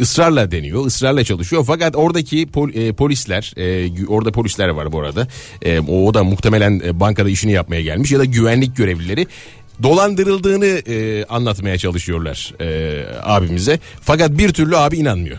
E: ısrarla deniyor, ısrarla çalışıyor. Fakat oradaki pol- e, polisler, e, gü- orada polisler var bu arada. E, o, o da muhtemelen e, bankada işini yapmaya gelmiş ya da güvenlik görevlileri dolandırıldığını e, anlatmaya çalışıyorlar e, abimize. Fakat bir türlü abi inanmıyor.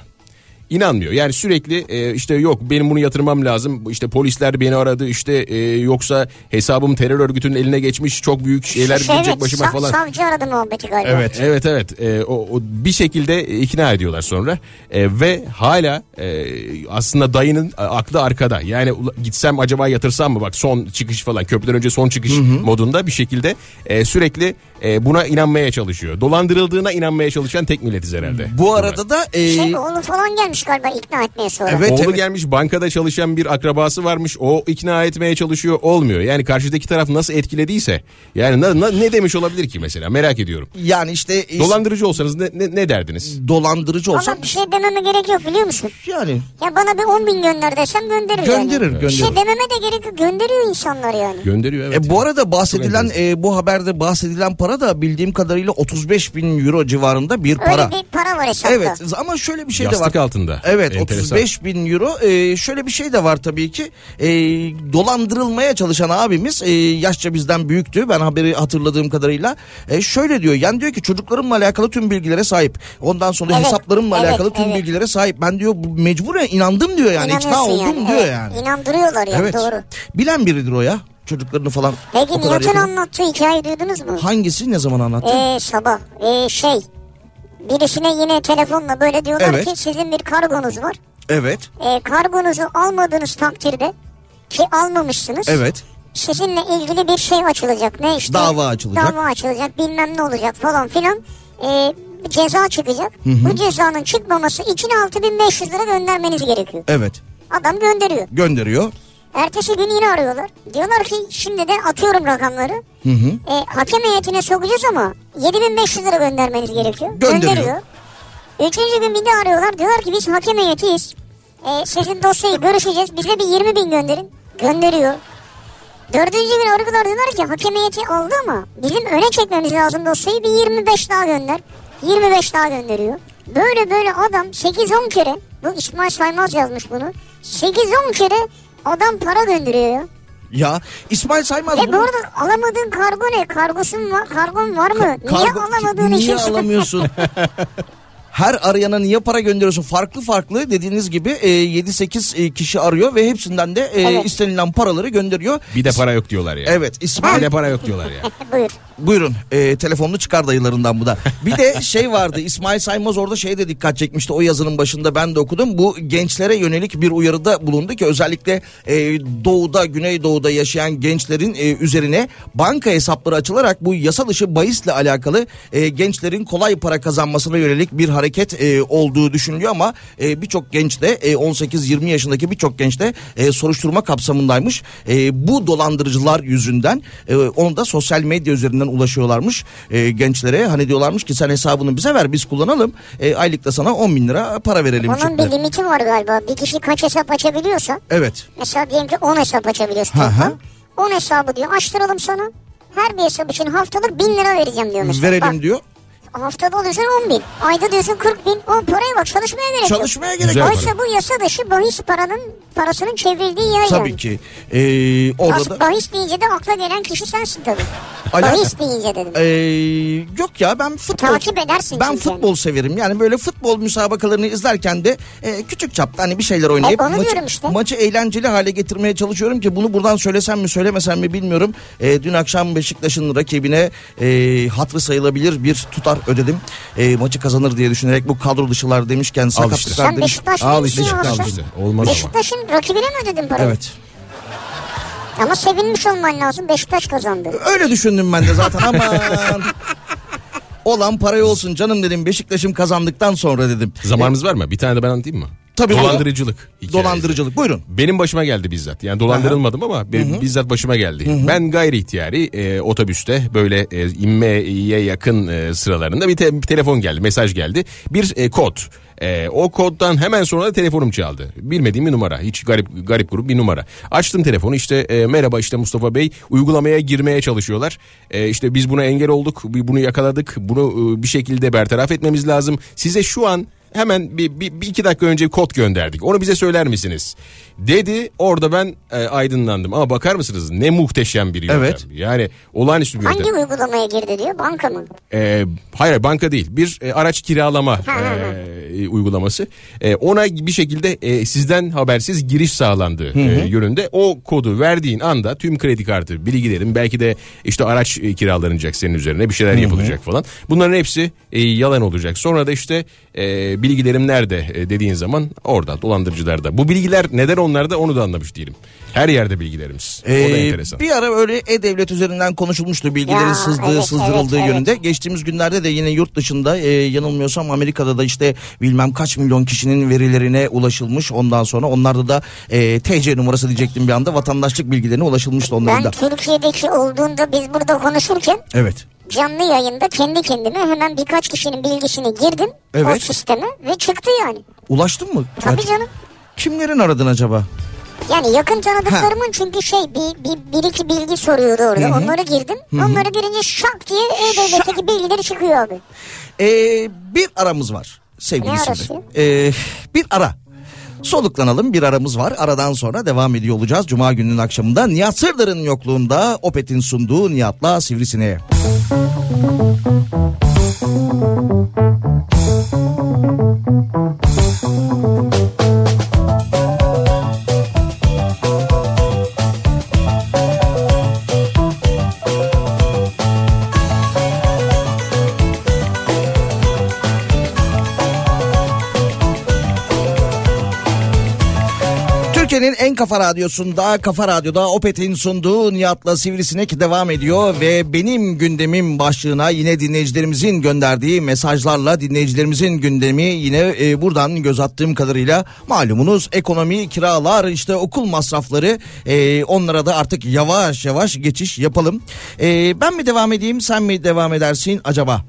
E: inanmıyor. Yani sürekli e, işte yok benim bunu yatırmam lazım. İşte polisler beni aradı. İşte e, yoksa hesabım terör örgütünün eline geçmiş. Çok büyük şeyler
C: Şey,
E: gelecek
C: evet,
E: başıma
C: sav-
E: falan.
C: Savcı aradı muhabbeti galiba.
E: Evet evet evet Ee, o, o bir şekilde e, ikna ediyorlar sonra Ee, ve hala e, aslında dayının e, aklı arkada yani ula- gitsem acaba yatırsam mı bak son çıkış falan köprüden önce son çıkış modunda bir şekilde e, sürekli e, buna inanmaya çalışıyor dolandırıldığına inanmaya çalışan tek milletiz herhalde.
D: Bu arada da e,
C: Şey oğlu falan gelmiş galiba ikna etmeye sonra.
D: Evet,
E: Oğlu
D: evet.
E: gelmiş bankada çalışan bir akrabası varmış o ikna etmeye çalışıyor olmuyor yani karşıdaki taraf nasıl etkilediyse yani na- na- ne demiş olabilir ki mesela merak ediyorum.
D: yani işte e,
E: Dolandırıcı olsanız ne, ne, ne derdiniz?
D: dolandırıcı olsa
C: Ama bir şey dememe gerek yok biliyor musun?
D: yani
C: Ya bana bir 10 bin gönder desem gönderir, yani.
D: Gönderir,
C: Bir
D: gönderir.
C: şey dememe de gerek yok gönderiyor insanlar yani.
E: Gönderiyor evet.
D: E, bu arada bahsedilen e, bu haberde bahsedilen para da bildiğim kadarıyla 35 bin euro civarında bir
C: Öyle
D: para.
C: bir şey para var hesapta.
D: Evet ama şöyle bir şey de var.
E: Yastık altında.
D: Evet
E: Enteresan.
D: 35 bin euro Ee, şöyle bir şey de var tabii ki Ee, dolandırılmaya çalışan abimiz e, yaşça bizden büyüktü ben haberi hatırladığım kadarıyla Ee, şöyle diyor yani diyor ki çocuklarımla alakalı tüm bilgilere sahip ondan sonra
C: Evet,
D: hesaplarımla
C: evet,
D: alakalı tüm
C: evet.
D: bilgilere sahip ben diyor bu- mecburen inandım diyor yani ikna
C: İnanıyorsun
D: oldum
C: yani,
D: diyor
C: evet.
D: yani.
C: İnandırıyorlar yani
D: Evet
C: doğru.
D: bilen biridir o ya çocuklarını falan
C: Peki
D: o kadar
C: Nihat'ın
D: yakın-
C: anlattığı hikayeyi duydunuz mu?
D: Hangisi ne zaman anlattı?
C: Ee, sabah ee, şey birisine yine telefonla böyle diyorlar
D: Evet.
C: ki sizin bir kargonuz var.
D: evet.
C: Ee, kargonuzu almadığınız takdirde ki almamışsınız.
D: Evet.
C: Sizinle ilgili bir şey açılacak. Ne işte?
D: Dava açılacak.
C: Dava açılacak bilmem ne olacak falan filan. Ee, bir ceza çıkacak. Bu cezanın çıkmaması için 6500 lira göndermeniz gerekiyor.
D: Evet.
C: Adam gönderiyor.
D: Gönderiyor.
C: Ertesi gün yine arıyorlar. Diyorlar ki şimdi de atıyorum rakamları. E, hakem heyetine sokacağız ama 7500 lira göndermeniz gerekiyor.
D: Gönderiyor.
C: Üçüncü gün bir de arıyorlar. Diyorlar ki biz hakem heyetiyiz. E, sizin dosyayı görüşeceğiz. Bize bir 20 bin gönderin. Gönderiyor. Dördüncü gün arıyorlar diyorlar ki hakem heyeti aldı ama bizim öne çekmemiz lazım dosyayı bir 25 daha gönder. 25 daha gönderiyor. Böyle böyle adam 8-10 kere bu İsmail Saymaz yazmış bunu. 8-10 kere adam para gönderiyor ya.
D: Ya İsmail Saymaz
C: E bu
D: bunu-
C: arada alamadığın kargo ne? Kargosun var, kargon var mı? niye
D: Kargo-
C: alamadığın
D: niye
C: için
D: alamıyorsun? Her arayana niye para gönderiyorsun? Farklı farklı dediğiniz gibi e, 7-8 e, kişi arıyor ve hepsinden de e,
C: Evet.
D: istenilen paraları gönderiyor.
E: Bir de para yok diyorlar ya.
D: Evet
E: Bir
D: İsmail
E: de para yok diyorlar ya.
C: Buyur.
D: buyurun e, telefonunu çıkar dayılarından bu da. Bir de şey vardı İsmail Saymaz orada şey de dikkat çekmişti o yazının başında ben de okudum. Bu gençlere yönelik bir uyarıda bulundu ki özellikle e, doğuda güneydoğuda yaşayan gençlerin e, üzerine banka hesapları açılarak bu yasa dışı bahisle alakalı e, gençlerin kolay para kazanmasına yönelik bir hareket e, olduğu düşünülüyor ama e, birçok genç de e, 18-20 yaşındaki birçok genç de e, soruşturma kapsamındaymış. E, bu dolandırıcılar yüzünden e, onu da sosyal medya üzerinden ulaşıyorlarmış e, gençlere. Hani diyorlarmış ki sen hesabını bize ver biz kullanalım. E, aylık da sana 10 bin lira para verelim.
C: Onun
D: şeklinde.
C: bir limiti var galiba. Bir kişi kaç hesap açabiliyorsa
D: Evet.
C: Mesela diyelim ki 10 hesap açabiliyorsun.
D: Hı hı.
C: toplam. 10 hesabı diyor açtıralım sana. Her bir hesap için haftalık 1000 lira vereceğim diyor mesela.
D: Verelim
C: Bak,
D: diyor.
C: Haftada oluyorsun 10 bin. Ayda diyorsun 40 bin. O paraya bak çalışmaya gerek yok.
D: Çalışmaya gerek
E: Güzel
D: yok.
C: Oysa bu yasa dışı bahis paranın parasının çevrildiği yer
D: Tabii
C: yani.
D: ki. E, orada da...
C: As- bahis deyince de akla gelen kişi sensin tabii.
D: Ala-
C: bahis deyince dedim.
D: Ee, yok ya ben futbol
C: Takip edersin
D: Ben
C: çünkü.
D: futbol severim. Yani böyle futbol müsabakalarını izlerken de e, küçük çapta hani bir şeyler oynayıp
C: E, onu
D: maçı,
C: diyorum işte.
D: maçı eğlenceli hale getirmeye çalışıyorum ki bunu buradan söylesem mi söylemesem mi bilmiyorum. E, dün akşam Beşiktaş'ın rakibine e, hatırı sayılabilir bir tutar ödedim. E, maçı kazanır diye düşünerek bu kadro dışılar demişken sakatlıklar
C: Sen
D: demiş.
C: Beşiktaş
E: Al
C: değilsin
E: işte
C: ya
E: al
C: aslında.
E: işte. Olmaz ama.
C: Beşiktaş'ın rakibine mi ödedin parayı?
D: Evet.
C: Ama sevinmiş olman lazım. Beşiktaş kazandı.
D: Öyle düşündüm ben de zaten aman. Olan parayı olsun canım dedim Beşiktaş'ım kazandıktan sonra dedim.
E: Zamanımız var mı? Bir tane de ben anlatayım mı?
D: Tabii.
E: Dolandırıcılık. hikayesi.
D: Dolandırıcılık buyurun.
E: Benim başıma geldi bizzat. Yani dolandırılmadım ama benim bizzat başıma geldi. Ben gayri ihtiyari e, otobüste böyle e, inmeye yakın e, sıralarında bir, te- bir telefon geldi, mesaj geldi. Bir e, kod. E, o koddan hemen sonra da telefonum çaldı. Bilmediğim bir numara. Hiç garip garip grup bir numara. Açtım telefonu işte e, merhaba işte Mustafa Bey uygulamaya girmeye çalışıyorlar. E, işte biz buna engel olduk, bi- bunu yakaladık, bunu e, bir şekilde bertaraf etmemiz lazım. Size şu an hemen bir, bir, bir iki dakika önce bir kod gönderdik. Onu bize söyler misiniz? Dedi orada ben e, aydınlandım. Ama bakar mısınız ne muhteşem bir yöntem.
D: Evet.
E: Yani olağanüstü bir
C: Hangi
E: yöntem.
C: uygulamaya girdi diyor banka mı?
E: E, hayır hayır, banka değil bir e, araç kiralama e, uygulaması E, ona bir şekilde e, sizden habersiz giriş sağlandığı e, yönünde o kodu verdiğin anda tüm kredi kartı bilgilerin belki de işte araç e, kiralanacak senin üzerine bir şeyler yapılacak falan bunların hepsi e, yalan olacak sonra da işte e, bilgilerim nerede e, dediğin zaman orada dolandırıcılarda bu bilgiler neden onlarda onu da anlamış değilim her yerde bilgilerimiz o da
D: Ee,
E: enteresan.
D: Bir ara öyle e-devlet üzerinden konuşulmuştu bilgilerin
C: Ya,
D: sızdığı
C: evet,
D: sızdırıldığı
C: evet, evet.
D: yönünde. Geçtiğimiz günlerde de yine yurt dışında e, yanılmıyorsam Amerika'da da işte bilmem kaç milyon kişinin verilerine ulaşılmış. Ondan sonra onlarda da e, TC numarası diyecektim bir anda vatandaşlık bilgilerine ulaşılmıştı onların
C: Ben
D: da.
C: Türkiye'deki olduğunda biz burada konuşurken
D: Evet.
C: canlı yayında kendi kendime hemen birkaç kişinin bilgisini girdim o
D: Evet.
C: sisteme ve çıktı yani.
D: Ulaştın mı?
C: Tabii
D: Fatih?
C: canım.
D: Kimlerin aradın acaba?
C: Yani yakın tanıdıklarımın çünkü şey bir, bir, bir iki bilgi soruyordu orada. Onları girdim. Onları girince şak diye E-Devlet'teki bilgileri çıkıyor abi.
D: Ee, bir aramız var sevgili
C: Ne
D: Sibel.
C: arası?
D: Ee, bir ara. Soluklanalım bir aramız var. Aradan sonra devam ediyor olacağız. Cuma gününün akşamında Nihat Sırdar'ın yokluğunda Opet'in sunduğu Nihat'la Sivrisine'ye. Türkiye'nin en kafa radyosunda, kafa radyoda Opet'in sunduğu Nihat'la Sivrisinek devam ediyor ve benim gündemim başlığına yine dinleyicilerimizin gönderdiği mesajlarla dinleyicilerimizin gündemi yine e, buradan göz attığım kadarıyla malumunuz ekonomi, kiralar, işte okul masrafları e, onlara da artık yavaş yavaş geçiş yapalım. E, ben mi devam edeyim, sen mi devam edersin acaba?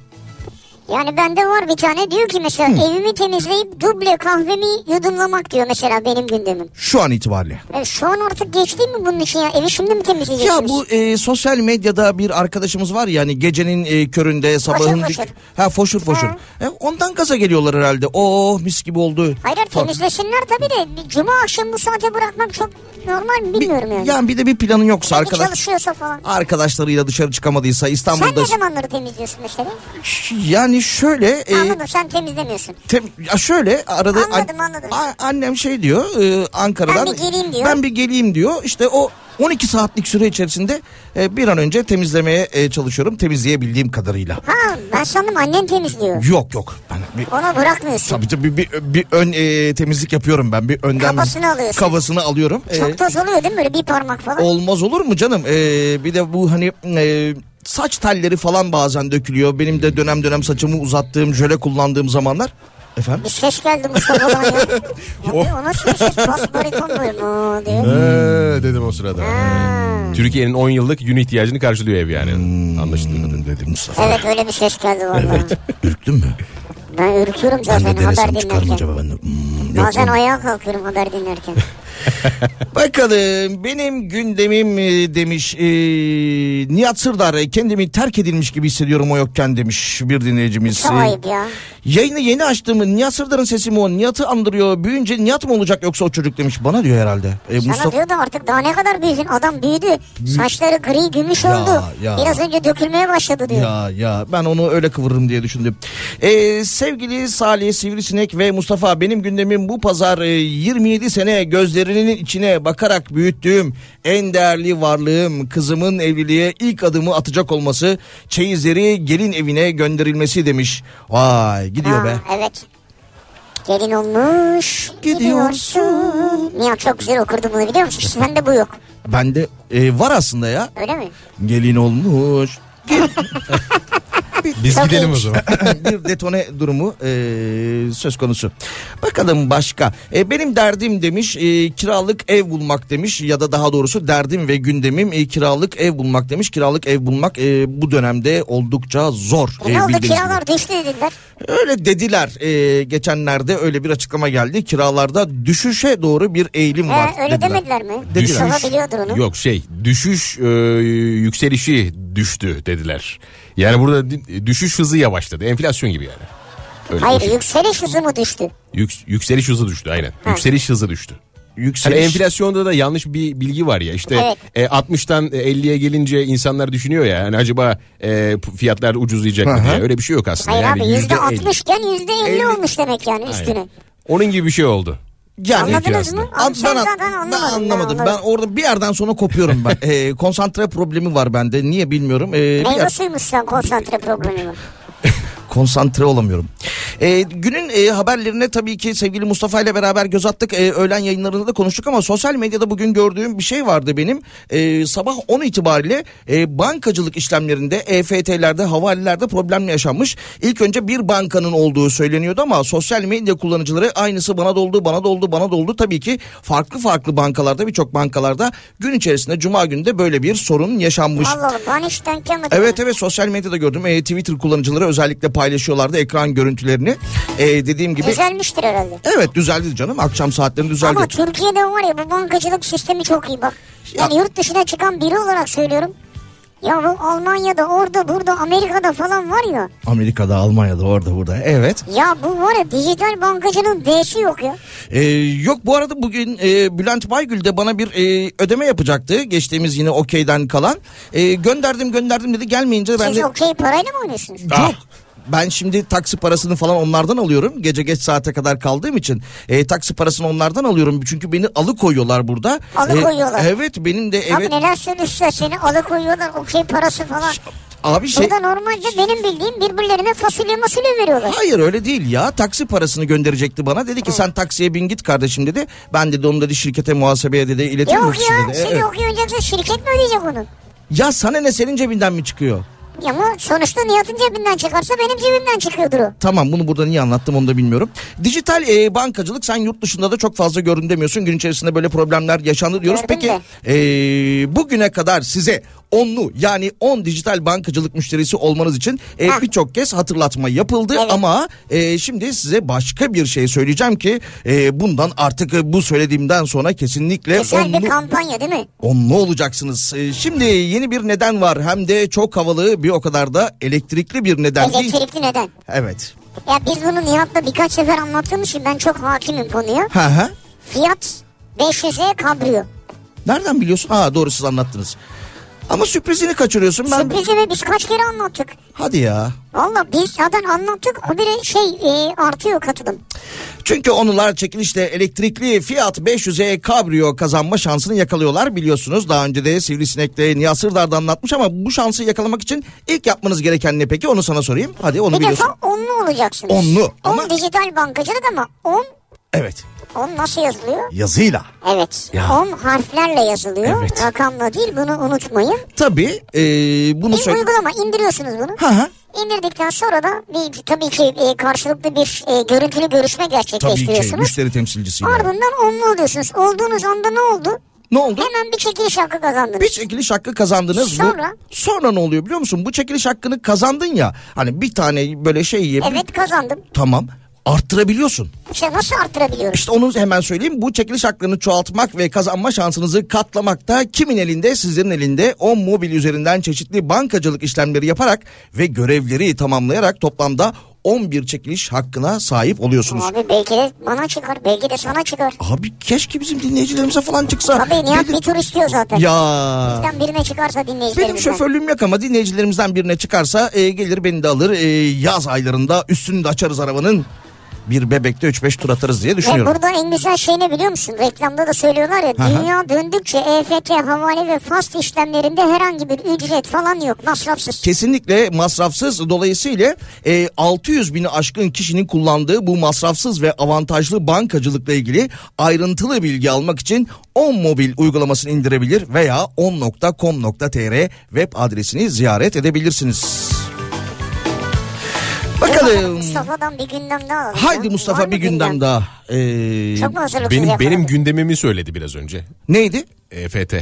C: Yani bende var bir tane diyor ki mesela evimi temizleyip duble kahvemi yudumlamak diyor mesela benim gündemim.
D: Şu an itibariyle.
C: E, şu an artık geçti mi bunun için ya? Evi şimdi mi temizleyeceksiniz?
D: Ya bu e, sosyal medyada bir arkadaşımız var ya hani gecenin e, köründe sabahın
C: Foşur foşur.
D: dik- ha foşur foşur.
C: Ha.
D: E, ondan gaza geliyorlar herhalde. Oo mis gibi oldu.
C: Hayır hayır,
D: Falan.
C: temizlesinler tabii de bir cuma akşamı bu saate bırakmak çok normal mi
D: Bir-
C: bilmiyorum yani.
D: Yani bir de bir planın yoksa
C: Belki
D: arkadaş
C: çalışıyorsa falan.
D: arkadaşlarıyla dışarı çıkamadıysa
C: Sen
D: İstanbul'da
C: ne zamanları temizliyorsun mesela?
D: yani şöyle e,
C: Anladım sen temizlemiyorsun.
D: Tem- ya şöyle arada
C: Anladım, anladım.
D: a- annem şey diyor e, Ankara'dan
C: Ben bir geleyim diyor.
D: Ben bir geleyim diyor. İşte o 12 saatlik süre içerisinde e, bir an önce temizlemeye e, çalışıyorum temizleyebildiğim kadarıyla.
C: Ha ben sandım annen temizliyor.
D: Yok yok. Ben bir,
C: Ona bırakmıyorsun.
D: tabii tabii bir, bir ön e, temizlik yapıyorum ben. Bir önden
C: Kafasını alıyorsun.
D: Kafasını alıyorum. E,
C: Çok toz oluyor değil mi böyle bir parmak falan?
D: olmaz olur mu canım? E, bir de bu hani e, saç telleri falan bazen dökülüyor. Benim de dönem dönem saçımı uzattığım, jöle kullandığım zamanlar. Efendim?
C: Bir ses geldi Mustafa'dan ya. ya diyor, o nasıl bir ses? Bas bariton böyle "Aa" diyor.
E: Ee, dedim o sırada. Türkiye'nin 10 yıllık yün ihtiyacını karşılıyor ev yani.
D: Hmm.
E: Anlaşıldığı kadarıyla.
D: Dedim Mustafa.
C: Evet öyle bir ses geldi vallahi.
D: Ürktün mü?
C: Ben ürküyorum
D: Ben
C: zaten
D: de denesem
C: haber
D: çıkar mı
C: dinlerken.
D: acaba ben de? Hmm, yok.
C: Bazen ayağa kalkıyorum haber dinlerken.
D: Bakalım benim gündemim e, demiş e, Nihat Sırdar e, kendimi terk edilmiş gibi hissediyorum o yokken demiş bir dinleyicimiz.
C: Çok
D: E,
C: ayıp ya.
D: Yayını yeni açtığımı Nihat Sırdar'ın sesi mi o? Nihat'ı andırıyor. Büyüyünce Nihat mı olacak yoksa o çocuk demiş. Bana diyor herhalde. E,
C: Sana diyor da artık daha ne kadar büyüsün adam büyüdü. Saçları gri gümüş oldu.
D: ya.
C: Biraz önce dökülmeye başladı diyor.
D: Ya ya ben onu öyle kıvırırım diye düşündüm. E, sevgili Salih Sivrisinek ve Mustafa benim gündemim bu pazar e, 27 sene gözlerinin içine bakarak büyüttüğüm en değerli varlığım kızımın evliliğe ilk adımı atacak olması çeyizleri gelin evine gönderilmesi demiş. Vay gidiyor
C: Ha,
D: be.
C: Evet. Gelin olmuş
D: Gidiyorsun.
C: gidiyorsun. Niye çok güzel okurdu bunu biliyor musun? İşte Sende bu yok.
D: Bende e, var aslında ya.
C: Öyle mi?
D: Gelin olmuş.
E: Biz
C: Çok
E: gidelim o
C: iyiymiş.
E: zaman.
D: bir detone durumu e, söz konusu. Bakalım başka. E, benim derdim demiş e, kiralık ev bulmak demiş ya da daha doğrusu derdim ve gündemim e, kiralık ev bulmak demiş. Kiralık ev bulmak e, bu dönemde oldukça zor.
C: E, ne oldu
D: bildiğiniz gibi.
C: kiralar düştü dediler.
D: Öyle dediler e, geçenlerde öyle bir açıklama geldi. Kiralarda düşüşe doğru bir eğilim var.
C: He, Ee, öyle
D: dediler.
C: demediler mi?
E: Dediler.
C: Mustafa biliyordur onu.
E: Yok şey düşüş e, yükselişi düştü dediler. Yani burada di- düşüş hızı yavaşladı. Enflasyon gibi yani. Öyle
C: Hayır
E: düşün.
C: yükseliş hızı mı düştü?
E: Yük- yükseliş hızı düştü aynen. Yükseliş hızı düştü. Hani
D: Yükseliş.
E: enflasyonda da yanlış bir bilgi var ya işte
C: Evet.
E: e, 60'tan e, 50'ye gelince insanlar düşünüyor ya hani acaba e, p- fiyatlar ucuzlayacak mı diye öyle bir şey yok aslında.
C: Hayır
E: yani
C: abi yüzde
E: %50.
C: %60 iken yüzde %50
E: Elli-
C: olmuş demek yani üstüne.
E: Onun gibi bir şey oldu.
D: Yani
E: Anladım.
C: Anladınız
E: aslında.
C: mı?
D: Abi
C: Abi
D: ben,
C: sen zaten anlamadın.
D: ben anlamadım. Ben
C: anladım.
D: orada bir yerden sonra kopuyorum ben. Ee, konsantre problemi var bende. Niye bilmiyorum. Ee, bir
C: Meyve
D: yer-
C: suymuş sen konsantre problemi var.
D: konsantre olamıyorum. Ee, günün e, haberlerine tabii ki sevgili Mustafa ile beraber göz attık. Ee, öğlen yayınlarında da konuştuk ama sosyal medyada bugün gördüğüm bir şey vardı benim. Ee, sabah 10 itibariyle e, bankacılık işlemlerinde E EFT'lerde, havalelerde problem yaşanmış. İlk önce bir bankanın olduğu söyleniyordu ama sosyal medya kullanıcıları aynısı bana doldu, bana doldu, bana doldu. Tabii ki farklı farklı bankalarda, birçok bankalarda gün içerisinde cuma günü de böyle bir sorun yaşanmış.
C: Allah Allah ben hiç denk gelmedim.
D: Evet evet sosyal medyada gördüm. Ee, Twitter kullanıcıları özellikle paylaşıyorlardı ekran görüntülerini. Ee, dediğim gibi
C: Güzelmiştir herhalde.
D: evet düzeldi canım. Akşam saatlerinde düzeldi.
C: Ama Türkiye'de var ya bu bankacılık sistemi çok iyi bak. Yani
D: Ya-
C: yurt dışına çıkan biri olarak söylüyorum. Ya bu Almanya'da orada burada Amerika'da falan var ya.
D: Amerika'da, Almanya'da, orada burada. Evet.
C: Ya bu var ya dijital bankacının D'si yok ya.
D: Ee, yok bu arada bugün e, Bülent Baygül de bana bir e, ödeme yapacaktı. Geçtiğimiz yine okeyden kalan. E, gönderdim gönderdim dedi gelmeyince ben
C: Siz
D: de...
C: okey parayla mı oynuyorsunuz?
E: Ah.
D: Yok. Ben şimdi taksi parasını falan onlardan alıyorum. Gece geç saate kadar kaldığım için e, taksi parasını onlardan alıyorum. Çünkü beni alıkoyuyorlar burada.
C: Alıkoyuyorlar.
D: E, evet benim de
C: Abi
D: evet.
C: neler söylüyorsa seni alıkoyuyorlar okey parası falan.
D: Abi şey
C: Burada normalde benim bildiğim birbirlerine fasulye masulye veriyorlar.
D: Hayır öyle değil ya. Taksi parasını gönderecekti bana. Dedi ki sen taksiye bin git kardeşim dedi. Ben dedi onu dedi şirkete muhasebeye dedi iletirim
C: Yok
D: ofisine
C: ya
D: dedi.
C: siz
D: Evet.
C: okuyacaksa şirket mi ödeyecek onu?
D: Ya sana ne senin cebinden mi çıkıyor?
C: Ya Ama sonuçta Nihat'ın cebinden çıkarsa benim cebimden çıkıyordur o.
D: Tamam bunu burada niye anlattım onu da bilmiyorum. Dijital e, bankacılık sen yurt dışında da çok fazla gördün demiyorsun. Gün içerisinde böyle problemler yaşandı diyoruz.
C: Gördüm
D: Peki e, bugüne kadar size onlu yani 10 dijital bankacılık müşterisi olmanız için e,
C: Hah.
D: birçok kez hatırlatma yapıldı. Ama e, şimdi size başka bir şey söyleyeceğim ki e, bundan artık e, bu söylediğimden sonra kesinlikle
C: Güzel bir
D: onlu
C: kampanya değil mi?
D: Onlu olacaksınız. Ee, Şimdi yeni bir neden var. Hem de çok havalı bir o kadar da elektrikli bir neden değil.
C: Elektrikli neden?
D: Evet.
C: Ya biz bunu Nihat'la birkaç sefer anlattığımız için ben çok hakimim konuya.
D: Ha ha.
C: Fiyat 500'e kabrio.
D: Nereden biliyorsun? Ha doğru siz anlattınız. Ama sürprizini kaçırıyorsun. Ben...
C: Sürprizimi biz kaç kere anlattık.
D: Hadi ya.
C: Valla biz zaten anlattık. O bile şey e, artıyor katılım.
D: Çünkü onurlar çekilişle elektrikli Fiat 500'e kabrio kazanma şansını yakalıyorlar biliyorsunuz. Daha önce de Sivrisinek'te Nihat Sırdar da anlatmış ama bu şansı yakalamak için ilk yapmanız gereken ne peki? Onu sana sorayım. Hadi onu
C: Bir
D: biliyorsun.
C: defa onlu olacaksınız.
D: Onlu
C: On
D: ama-
C: dijital bankacılık ama on,
D: Evet.
C: on nasıl yazılıyor?
D: Yazıyla.
C: Evet. On harflerle yazılıyor.
D: Evet.
C: Rakamla değil bunu unutmayın.
D: Tabii e, bunu
C: Bir
D: söyle.
C: uygulama indiriyorsunuz bunu.
D: Ha ha.
C: İndirdikten sonra da bir, tabii ki e, karşılıklı bir e, görüntülü görüşme
D: Tabii ki
C: gerçekleştiriyorsunuz.
D: müşteri temsilcisiyle.
C: Ardından onlu oluyorsunuz. Olduğunuz anda ne oldu?
D: Ne oldu?
C: Hemen bir çekiliş hakkı kazandınız.
D: Bir çekiliş hakkı kazandınız. Bu-
C: Sonra?
D: sonra ne oluyor biliyor musun? Bu çekiliş hakkını kazandın ya. Hani bir tane böyle şey yiyebil-
C: Evet kazandım.
D: Tamam. Arttırabiliyorsun.
C: İşte nasıl arttırabiliyoruz?
D: İşte onu hemen söyleyeyim. Bu çekiliş hakkını çoğaltmak ve kazanma şansınızı katlamakta kimin elinde? Sizlerin elinde. O mobil üzerinden çeşitli bankacılık işlemleri yaparak ve görevleri tamamlayarak toplamda 11 çekiliş hakkına sahip oluyorsunuz.
C: Abi belki de bana çıkar, belki de sana çıkar.
D: Abi keşke bizim dinleyicilerimize falan çıksa.
C: Tabii Nihat
D: Dedim-
C: bir tur istiyor zaten.
D: Ya.
C: Bizden birine çıkarsa
D: Benim
C: dinleyicilerimizden.
D: şoförlüğüm yok ama dinleyicilerimizden birine çıkarsa e, gelir beni de alır. E, yaz aylarında üstünü de açarız arabanın. Bir bebekte 3-5 tur atarız diye
C: Ve
D: düşünüyorum.
C: E, burada en güzel şey ne biliyor musun? Reklamda da söylüyorlar ya. Dünya döndükçe EFT, havale ve fast işlemlerinde herhangi bir ücret falan yok. Masrafsız.
D: Kesinlikle masrafsız dolayısıyla e, 600 bini aşkın kişinin kullandığı bu masrafsız ve avantajlı bankacılıkla ilgili ayrıntılı bilgi almak için 10 mobil uygulamasını indirebilir veya 10.com.tr web adresini ziyaret edebilirsiniz. Bakalım.
C: Mustafa'dan bir gündem daha alalım.
D: Haydi
C: ya.
D: Mustafa
C: Var mı
D: bir gündem daha. Ee,
C: Çok mu hazırlıksız
E: Benim benim
C: yakaladın?
E: gündemimi söyledi biraz önce.
D: neydi?
E: EFT.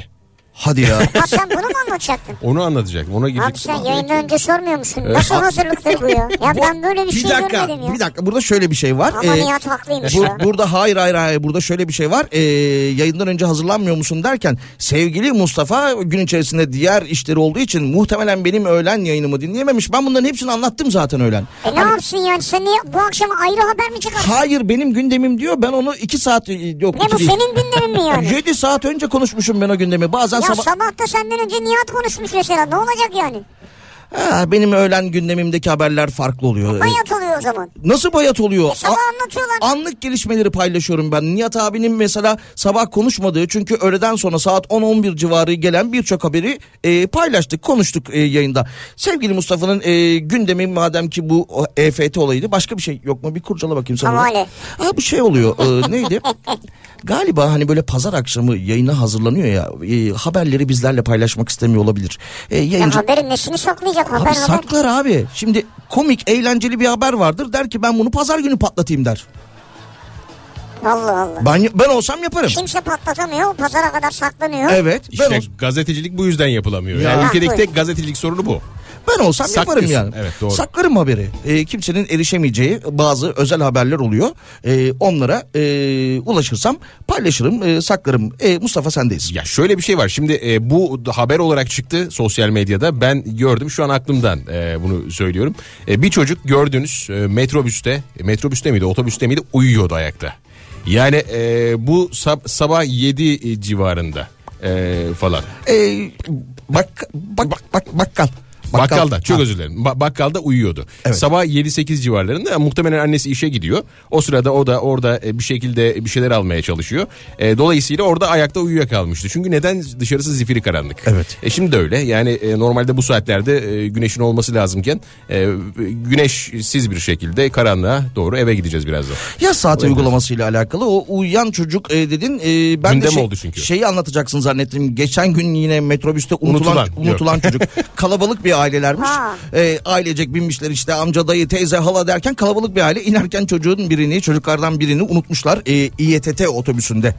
D: Hadi ya.
C: Ha sen bunu mu anlatacaktın?
E: E Onu anlatacaktım. Ona
C: Abi
E: girecektim.
C: sen yayından önce sormuyor musun? Nasıl hazırlıktır bu ya? Ya ben böyle bir, şey
D: dakika,
C: görmedim ya.
D: bir dakika. Burada şöyle bir şey var.
C: Ama
D: Ee,
C: Nihat haklıymış ya.
D: Bur- burada hayır hayır hayır burada şöyle bir şey var. Ee, yayından önce hazırlanmıyor musun derken sevgili Mustafa gün içerisinde diğer işleri olduğu için muhtemelen benim öğlen yayınımı dinleyememiş. Ben bunların hepsini anlattım zaten öğlen.
C: E ne yapsın yani sen niye bu akşam ayrı haber mi çıkarsın?
D: Hayır benim gündemim diyor ben onu 2 saat e, yok.
C: Ne bu senin gündemin mi yani?
D: 7 saat önce konuşmuşum ben o gündemi. Bazen
C: Ya
D: sabah
C: sabah da senden önce Nihat konuşmuş mesela ne olacak yani?
D: Ha, benim öğlen gündemimdeki haberler farklı oluyor. Ee,
C: Bayat oluyor o zaman. E
D: Nasıl bayat oluyor?
C: Sabah
D: A-
C: anlatıyorlar.
D: Anlık gelişmeleri paylaşıyorum ben. Nihat abinin mesela sabah konuşmadığı çünkü öğleden sonra saat 10-11 civarı gelen birçok haberi e, paylaştık, konuştuk e, yayında. Sevgili Mustafa'nın e, gündemi madem ki bu o, EFT olayıydı. Başka bir şey yok mu? Bir kurcala bakayım sana.
C: Ama öyle.
D: Ha, bu şey oluyor. e, neydi? Galiba hani böyle pazar akşamı yayına hazırlanıyor ya. e, haberleri bizlerle paylaşmak istemiyor olabilir. E,
C: Ya
D: yayıncı...
C: haberin nesini saklayacak haber
D: Abi
C: haber.
D: saklar abi. Şimdi komik, eğlenceli bir haber vardır. Der ki ben bunu pazar günü patlatayım der.
C: Allah Allah.
D: Ben, ben olsam yaparım.
C: Kimse patlatamıyor pazara kadar saklanıyor.
D: Evet. Ben,
E: İşte
D: olsam,
E: gazetecilik bu yüzden yapılamıyor.
D: Ya.
E: Yani ülkedeki
C: Haklı.
E: tek gazetecilik sorunu bu.
D: ben olsam yaparım
E: Saklıyorsun.
D: yani.
E: Evet, doğru.
D: Saklarım haberi. Ee, kimsenin erişemeyeceği bazı özel haberler oluyor. Ee, onlara ee, ulaşırsam paylaşırım, ee, saklarım. Ee, Mustafa sendeyiz.
E: Ya şöyle bir şey var. Şimdi e, bu da- haber olarak çıktı sosyal medyada. Ben gördüm. Şu an aklımdan e, bunu söylüyorum. E, bir çocuk gördünüz e, metrobüste, e, metrobüste miydi, otobüste miydi uyuyordu ayakta. Yani e, bu sab- sabah 7 civarında e, falan.
D: Ee, bak, bak, bak, bak, bakkal.
E: Bakkalda çok
D: Ha.
E: özür dilerim. Ba- bakkalda uyuyordu.
D: Evet.
E: Sabah 7-8 civarlarında yani muhtemelen annesi işe gidiyor. O sırada o da orada e, bir şekilde bir şeyler almaya çalışıyor. E, dolayısıyla orada ayakta uyuyakalmıştı. Çünkü neden dışarısı zifiri karanlık.
D: Evet.
E: E, şimdi de öyle. Yani e, normalde bu saatlerde e, güneşin olması lazımken e, güneşsiz bir şekilde karanlığa doğru eve gideceğiz birazdan.
D: Yaz saati uygulamasıyla alakalı o uyuyan çocuk e, dedin e, ben de
E: Gündem
D: şey-
E: oldu çünkü.
D: şeyi anlatacaksın zannettim. Geçen gün yine metrobüste unutulan
E: Unutulan,
D: unutulan, çocuk. Kalabalık bir ailelermiş.
C: Ha.
D: E, ailecek binmişler işte amca dayı teyze hala derken kalabalık bir aile inerken çocuğun birini çocuklardan birini unutmuşlar e, İETT otobüsünde.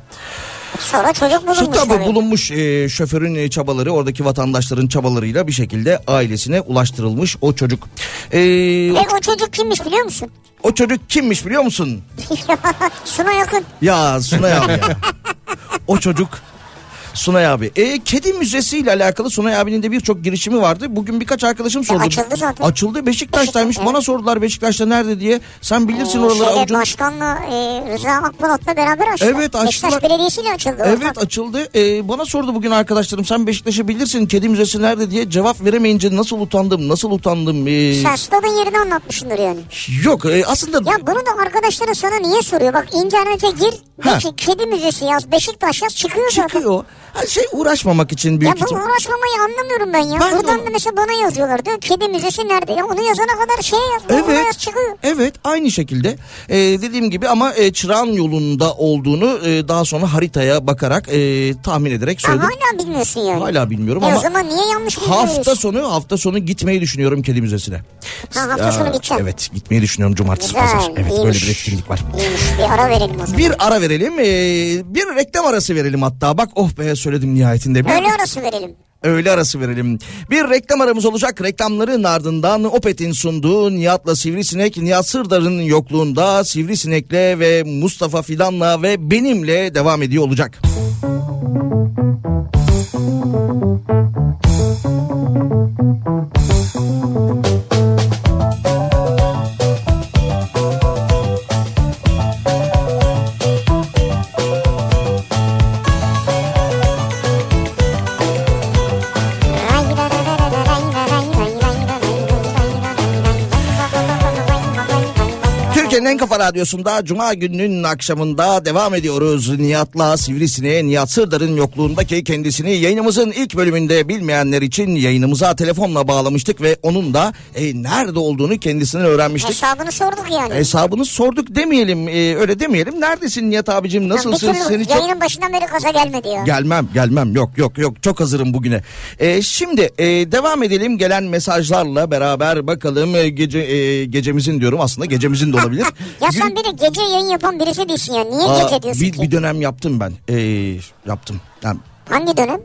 C: Sonra çocuk bulunmuş
D: Sultan
C: tabii.
D: bulunmuş e, şoförün e, çabaları oradaki vatandaşların çabalarıyla bir şekilde ailesine ulaştırılmış o çocuk. E,
C: E o çocuk kimmiş biliyor musun?
D: o çocuk kimmiş biliyor musun?
C: Şuna yakın.
D: Ya Sunay abi ya. O çocuk Sunay abi. E, kedi müzesi ile alakalı Sunay abinin de birçok girişimi vardı. Bugün birkaç arkadaşım sordu.
C: açıldı zaten.
D: Açıldı Beşiktaş'taymış.
C: Beşiktaş,
D: Bana sordular Beşiktaş'ta nerede diye. Sen bilirsin
C: Ee,
D: oraları
C: şeyle,
D: avucunu.
C: Başkanla e, Rıza Akbulat'la beraber açtılar.
D: Evet, açtılar.
C: Beşiktaş Belediyesi ile açıldı.
D: Evet
C: ortak.
D: açıldı. E, bana sordu bugün arkadaşlarım sen Beşiktaş'ı bilirsin kedi müzesi nerede diye cevap veremeyince nasıl utandım nasıl utandım. E,
C: Sen stadın yerini anlatmışsındır yani.
D: yok e, aslında
C: Ya bunu da arkadaşların sana niye soruyor? Bak internete gir.
D: Ha.
C: de ki kedi müzesi yaz. Beşiktaş yaz. Çıkıyor zaten.
D: çıkıyor. Ha, şey uğraşmamak için
C: Ya
D: büyük
C: bu
D: ihtim-
C: uğraşmamayı anlamıyorum ben ya.
D: Ben de
C: Buradan
D: onu-
C: da mesela bana yazıyorlar. Diyor kedi müzesi nerede? Ya onu yazana kadar şey yaz. Evet.
D: Evet.
C: Yaz çıkıyor.
D: Evet aynı şekilde Ee, dediğim gibi ama e, Çırağan yolunda olduğunu e, daha sonra haritaya bakarak e, tahmin ederek
C: Ha,
D: söyledim.
C: hala bilmiyorsun yani.
D: Hala bilmiyorum
C: E o
D: ama
C: zaman niye yanlış
D: hafta
C: biliyorsun?
D: sonu hafta sonu gitmeyi düşünüyorum kedi müzesine. Ee,
C: Ha, hafta sonu gideceğim.
D: Evet gitmeyi düşünüyorum cumartesi
C: Güzel,
D: pazar. Evet böyle
C: iyiymiş.
D: bir etkinlik var.
C: İyiymiş, bir ara verelim o zaman.
D: Bir ara verelim. ee, bir reklam arası verelim hatta. Bak oh be söyledim nihayetinde. Bir
C: Öğle arası verelim.
D: Öğle arası verelim. Bir reklam aramız olacak. Reklamların ardından Opet'in sunduğu Nihat'la Sivrisinek, Nihat Sırdar'ın yokluğunda Sivrisinek'le ve Mustafa Fidan'la ve benimle devam ediyor olacak. Türkiye'nin en kafa radyosunda Cuma gününün akşamında devam ediyoruz. Nihat'la Sivrisine'ye Nihat Sırdar'ın yokluğundaki kendisini yayınımızın ilk bölümünde bilmeyenler için yayınımıza telefonla bağlamıştık ve onun da e, nerede olduğunu kendisinden öğrenmiştik.
C: Hesabını sorduk yani.
D: E, Hesabını sorduk demeyelim e, öyle demeyelim. Neredesin Nihat abicim
C: Lan bir
D: nasılsın
C: türlü
D: seni çok...
C: yayının başından beri kaza gelmedi ya.
D: Gelmem gelmem yok yok yok çok hazırım bugüne. E, şimdi e, devam edelim gelen mesajlarla beraber bakalım e, gece e, gecemizin diyorum aslında gecemizin de olabilir.
C: ya sen bir de gece yayın yapan birisi değilsin ya. Niye
D: Aa,
C: gece diyorsun
D: bir,
C: ki?
D: bir dönem yaptım ben E, yaptım. Yani
C: Hangi dönem?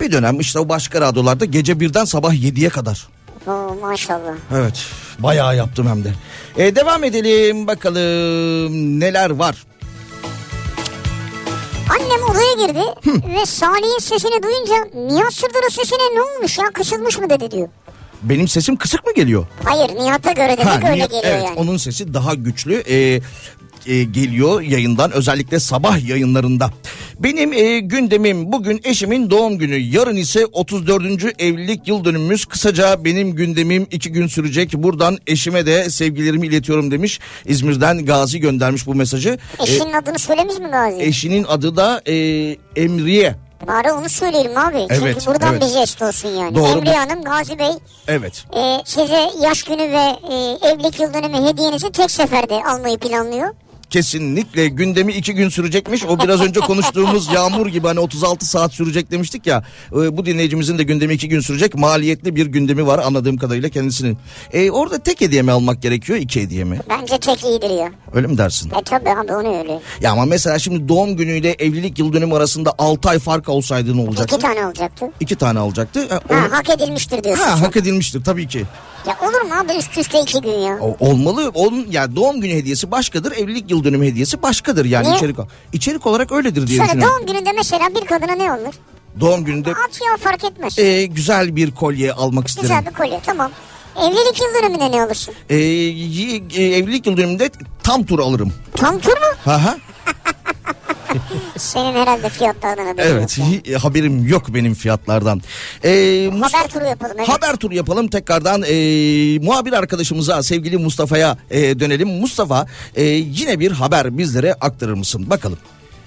D: Bir dönem işte o başka radyolarda gece birden sabah 7'ye kadar.
C: Oo, maşallah.
D: Evet bayağı yaptım hem de. E, devam edelim bakalım neler var.
C: Annem odaya girdi ve Salih'in sesini duyunca Nihat Sırdar'ın sesine ne olmuş ya kısılmış mı dedi diyor.
D: Benim sesim kısık mı geliyor?
C: Hayır Nihat'a göre demek
D: Ha,
C: öyle
D: Nihat-
C: geliyor
D: evet,
C: yani.
D: onun sesi daha güçlü e, e, geliyor yayından özellikle sabah yayınlarında. Benim e, gündemim bugün eşimin doğum günü yarın ise 34. evlilik yıl dönümümüz kısaca benim gündemim iki gün sürecek buradan eşime de sevgilerimi iletiyorum demiş İzmir'den Gazi göndermiş bu mesajı. E,
C: Eşinin adını söylemiş mi Gazi?
D: eşinin adı da e, Emriye.
C: Bari onu söyleyelim abi.
D: Evet,
C: Çünkü buradan
D: evet.
C: bir jest olsun yani.
D: Doğru,
C: Emre
D: bu-
C: Hanım, Gazi Bey
D: Evet.
C: e, size yaş günü ve e, evlilik yıl dönümü hediyenizi tek seferde almayı planlıyor.
D: Kesinlikle gündemi iki gün sürecekmiş. O biraz önce konuştuğumuz yağmur gibi hani 36 saat sürecek demiştik ya. Ee, Bu dinleyicimizin de gündemi iki gün sürecek. Maliyetli bir gündemi var anladığım kadarıyla kendisinin. E, orada tek hediye mi almak gerekiyor iki hediye mi?
C: Bence tek iyidir ya.
D: Öyle mi dersin?
C: E tabi abi onu öyle.
D: Ya ama mesela şimdi doğum günüyle evlilik yıl dönümü arasında 6 ay fark olsaydı ne olacaktı?
C: İki tane olacaktı.
D: İki tane alacaktı. Ha,
C: Ha,
D: onu-
C: hak edilmiştir diyorsun.
D: Ha,
C: sen.
D: hak edilmiştir tabii ki.
C: Ya olur mu abi üst üste iki gün ya.
D: O- olmalı. Onun ya doğum günü hediyesi başkadır, evlilik yıl dönümü hediyesi başkadır yani
C: Niye?
D: içerik. İçerik olarak öyledir diye
C: Şöyle
D: düşünüyorum.
C: doğum gününde mesela bir kadına ne olur?
D: Doğum gününde
C: At ya fark etmez.
D: Ee, güzel bir kolye almak isterim.
C: Güzel bir kolye tamam. Evlilik yıl dönümünde ne olursun?
D: Ee, y- e, evlilik yıl dönümünde tam tur alırım.
C: Tam tur mu?
D: Ha ha.
C: Senin herhalde fiyatlardan haberin
D: Evet.
C: yok ya.
D: hi- haberim yok benim fiyatlardan. Ee, Mus-
C: Haber turu yapalım. Evet.
D: Haber turu yapalım tekrardan ee, muhabir arkadaşımıza sevgili Mustafa'ya ee, dönelim. Mustafa ee, yine bir haber bizlere aktarır mısın? Bakalım.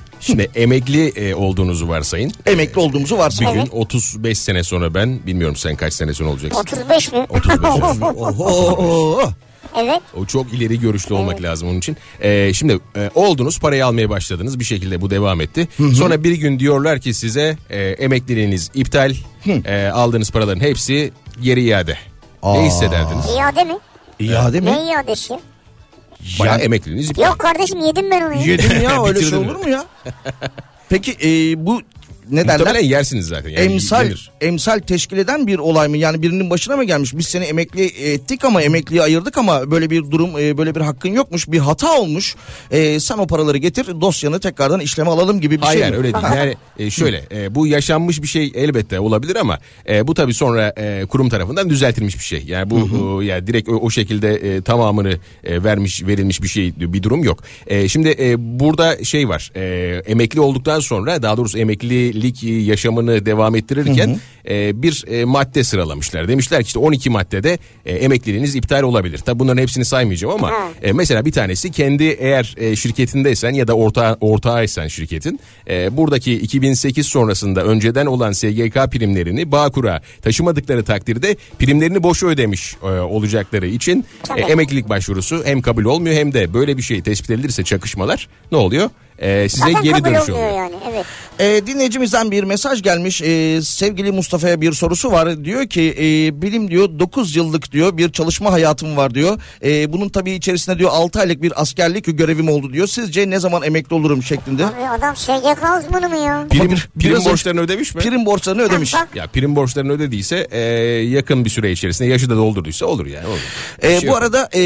E: Şimdi emekli e, olduğunuzu varsayın.
D: Emekli olduğumuzu
E: Bir
D: varsayalım.
E: gün 35 sene sonra ben bilmiyorum sen kaç sene sonra olacaksın.
C: 35 mi?
E: 35 mi?
D: Oho.
C: evet.
E: O çok ileri görüşlü olmak lazım onun için. Ee, şimdi e, oldunuz parayı almaya başladınız bir şekilde bu devam etti. Sonra bir gün diyorlar ki size e, emekliliğiniz iptal. E, aldığınız paraların hepsi geri iade. Ne hissederdiniz?
C: İade mi?
D: İade E mi?
C: Ne iadesi?
E: Bayağı emekliliğiniz iptal.
C: Yok kardeşim yedim ben onu. ya.
D: Yedim ya öyle şey
E: Bitirdin
D: olur mu ya? Peki ee, bu ne derler?
E: Muhtemelen yersiniz zaten. Yani
D: emsal
E: yenir.
D: emsal teşkil eden bir olay mı? Yani birinin başına mı gelmiş? Biz seni emekli ettik ama emekliye ayırdık ama böyle bir durum e, böyle bir hakkın yokmuş. Bir hata olmuş. E, sen o paraları getir dosyanı tekrardan işleme alalım gibi bir
E: Hayır
D: şey mi?
E: öyle değil.
D: Ha.
E: Yani e, şöyle e, bu yaşanmış bir şey elbette olabilir ama e, bu tabii sonra e, kurum tarafından düzeltilmiş bir şey. Yani bu e, yani direkt o, o şekilde e, tamamını e, vermiş verilmiş bir şey bir durum yok. E, şimdi e, burada şey var. e, emekli olduktan sonra daha doğrusu emeklilik e, yaşamını devam ettirirken e, bir e, madde sıralamışlar. Demişler ki işte 12 maddede e, emekliliğiniz iptal olabilir. Tabii bunların hepsini saymayacağım ama
C: Ha.
E: e, mesela bir tanesi kendi eğer e, şirketindeysen ya da orta ortağıysan şirketin e, buradaki 2008 sonrasında önceden olan SGK primlerini Bağkur'a taşımadıkları takdirde primlerini boşa ödemiş e, olacakları için e, emeklilik başvurusu hem kabul olmuyor hem de böyle bir şey tespit edilirse çakışmalar ne oluyor? E, size
C: Zaten
E: geri
C: kabul
E: dönüş
C: olmuyor
E: oluyor.
C: yani. Evet.
D: E, dinleyicimizden bir mesaj gelmiş. E, sevgili Mustafa'ya bir sorusu var. Diyor ki e, benim diyor 9 yıllık diyor bir çalışma hayatım var diyor. E, bunun tabii içerisinde diyor 6 aylık bir askerlik görevim oldu diyor. Sizce ne zaman emekli olurum şeklinde.
C: Abi adam SGK uzmanı mı ya?
E: Prim,
D: Ama bir-
E: prim
D: biraz-
E: borçlarını ödemiş mi?
D: Prim borçlarını ödemiş.
C: Bak,
E: Ya prim borçlarını ödediyse e, yakın bir süre içerisinde yaşı da doldurduysa olur yani. Olur. Bir
D: Ee,
E: şey
D: bu
E: yok.
D: arada e,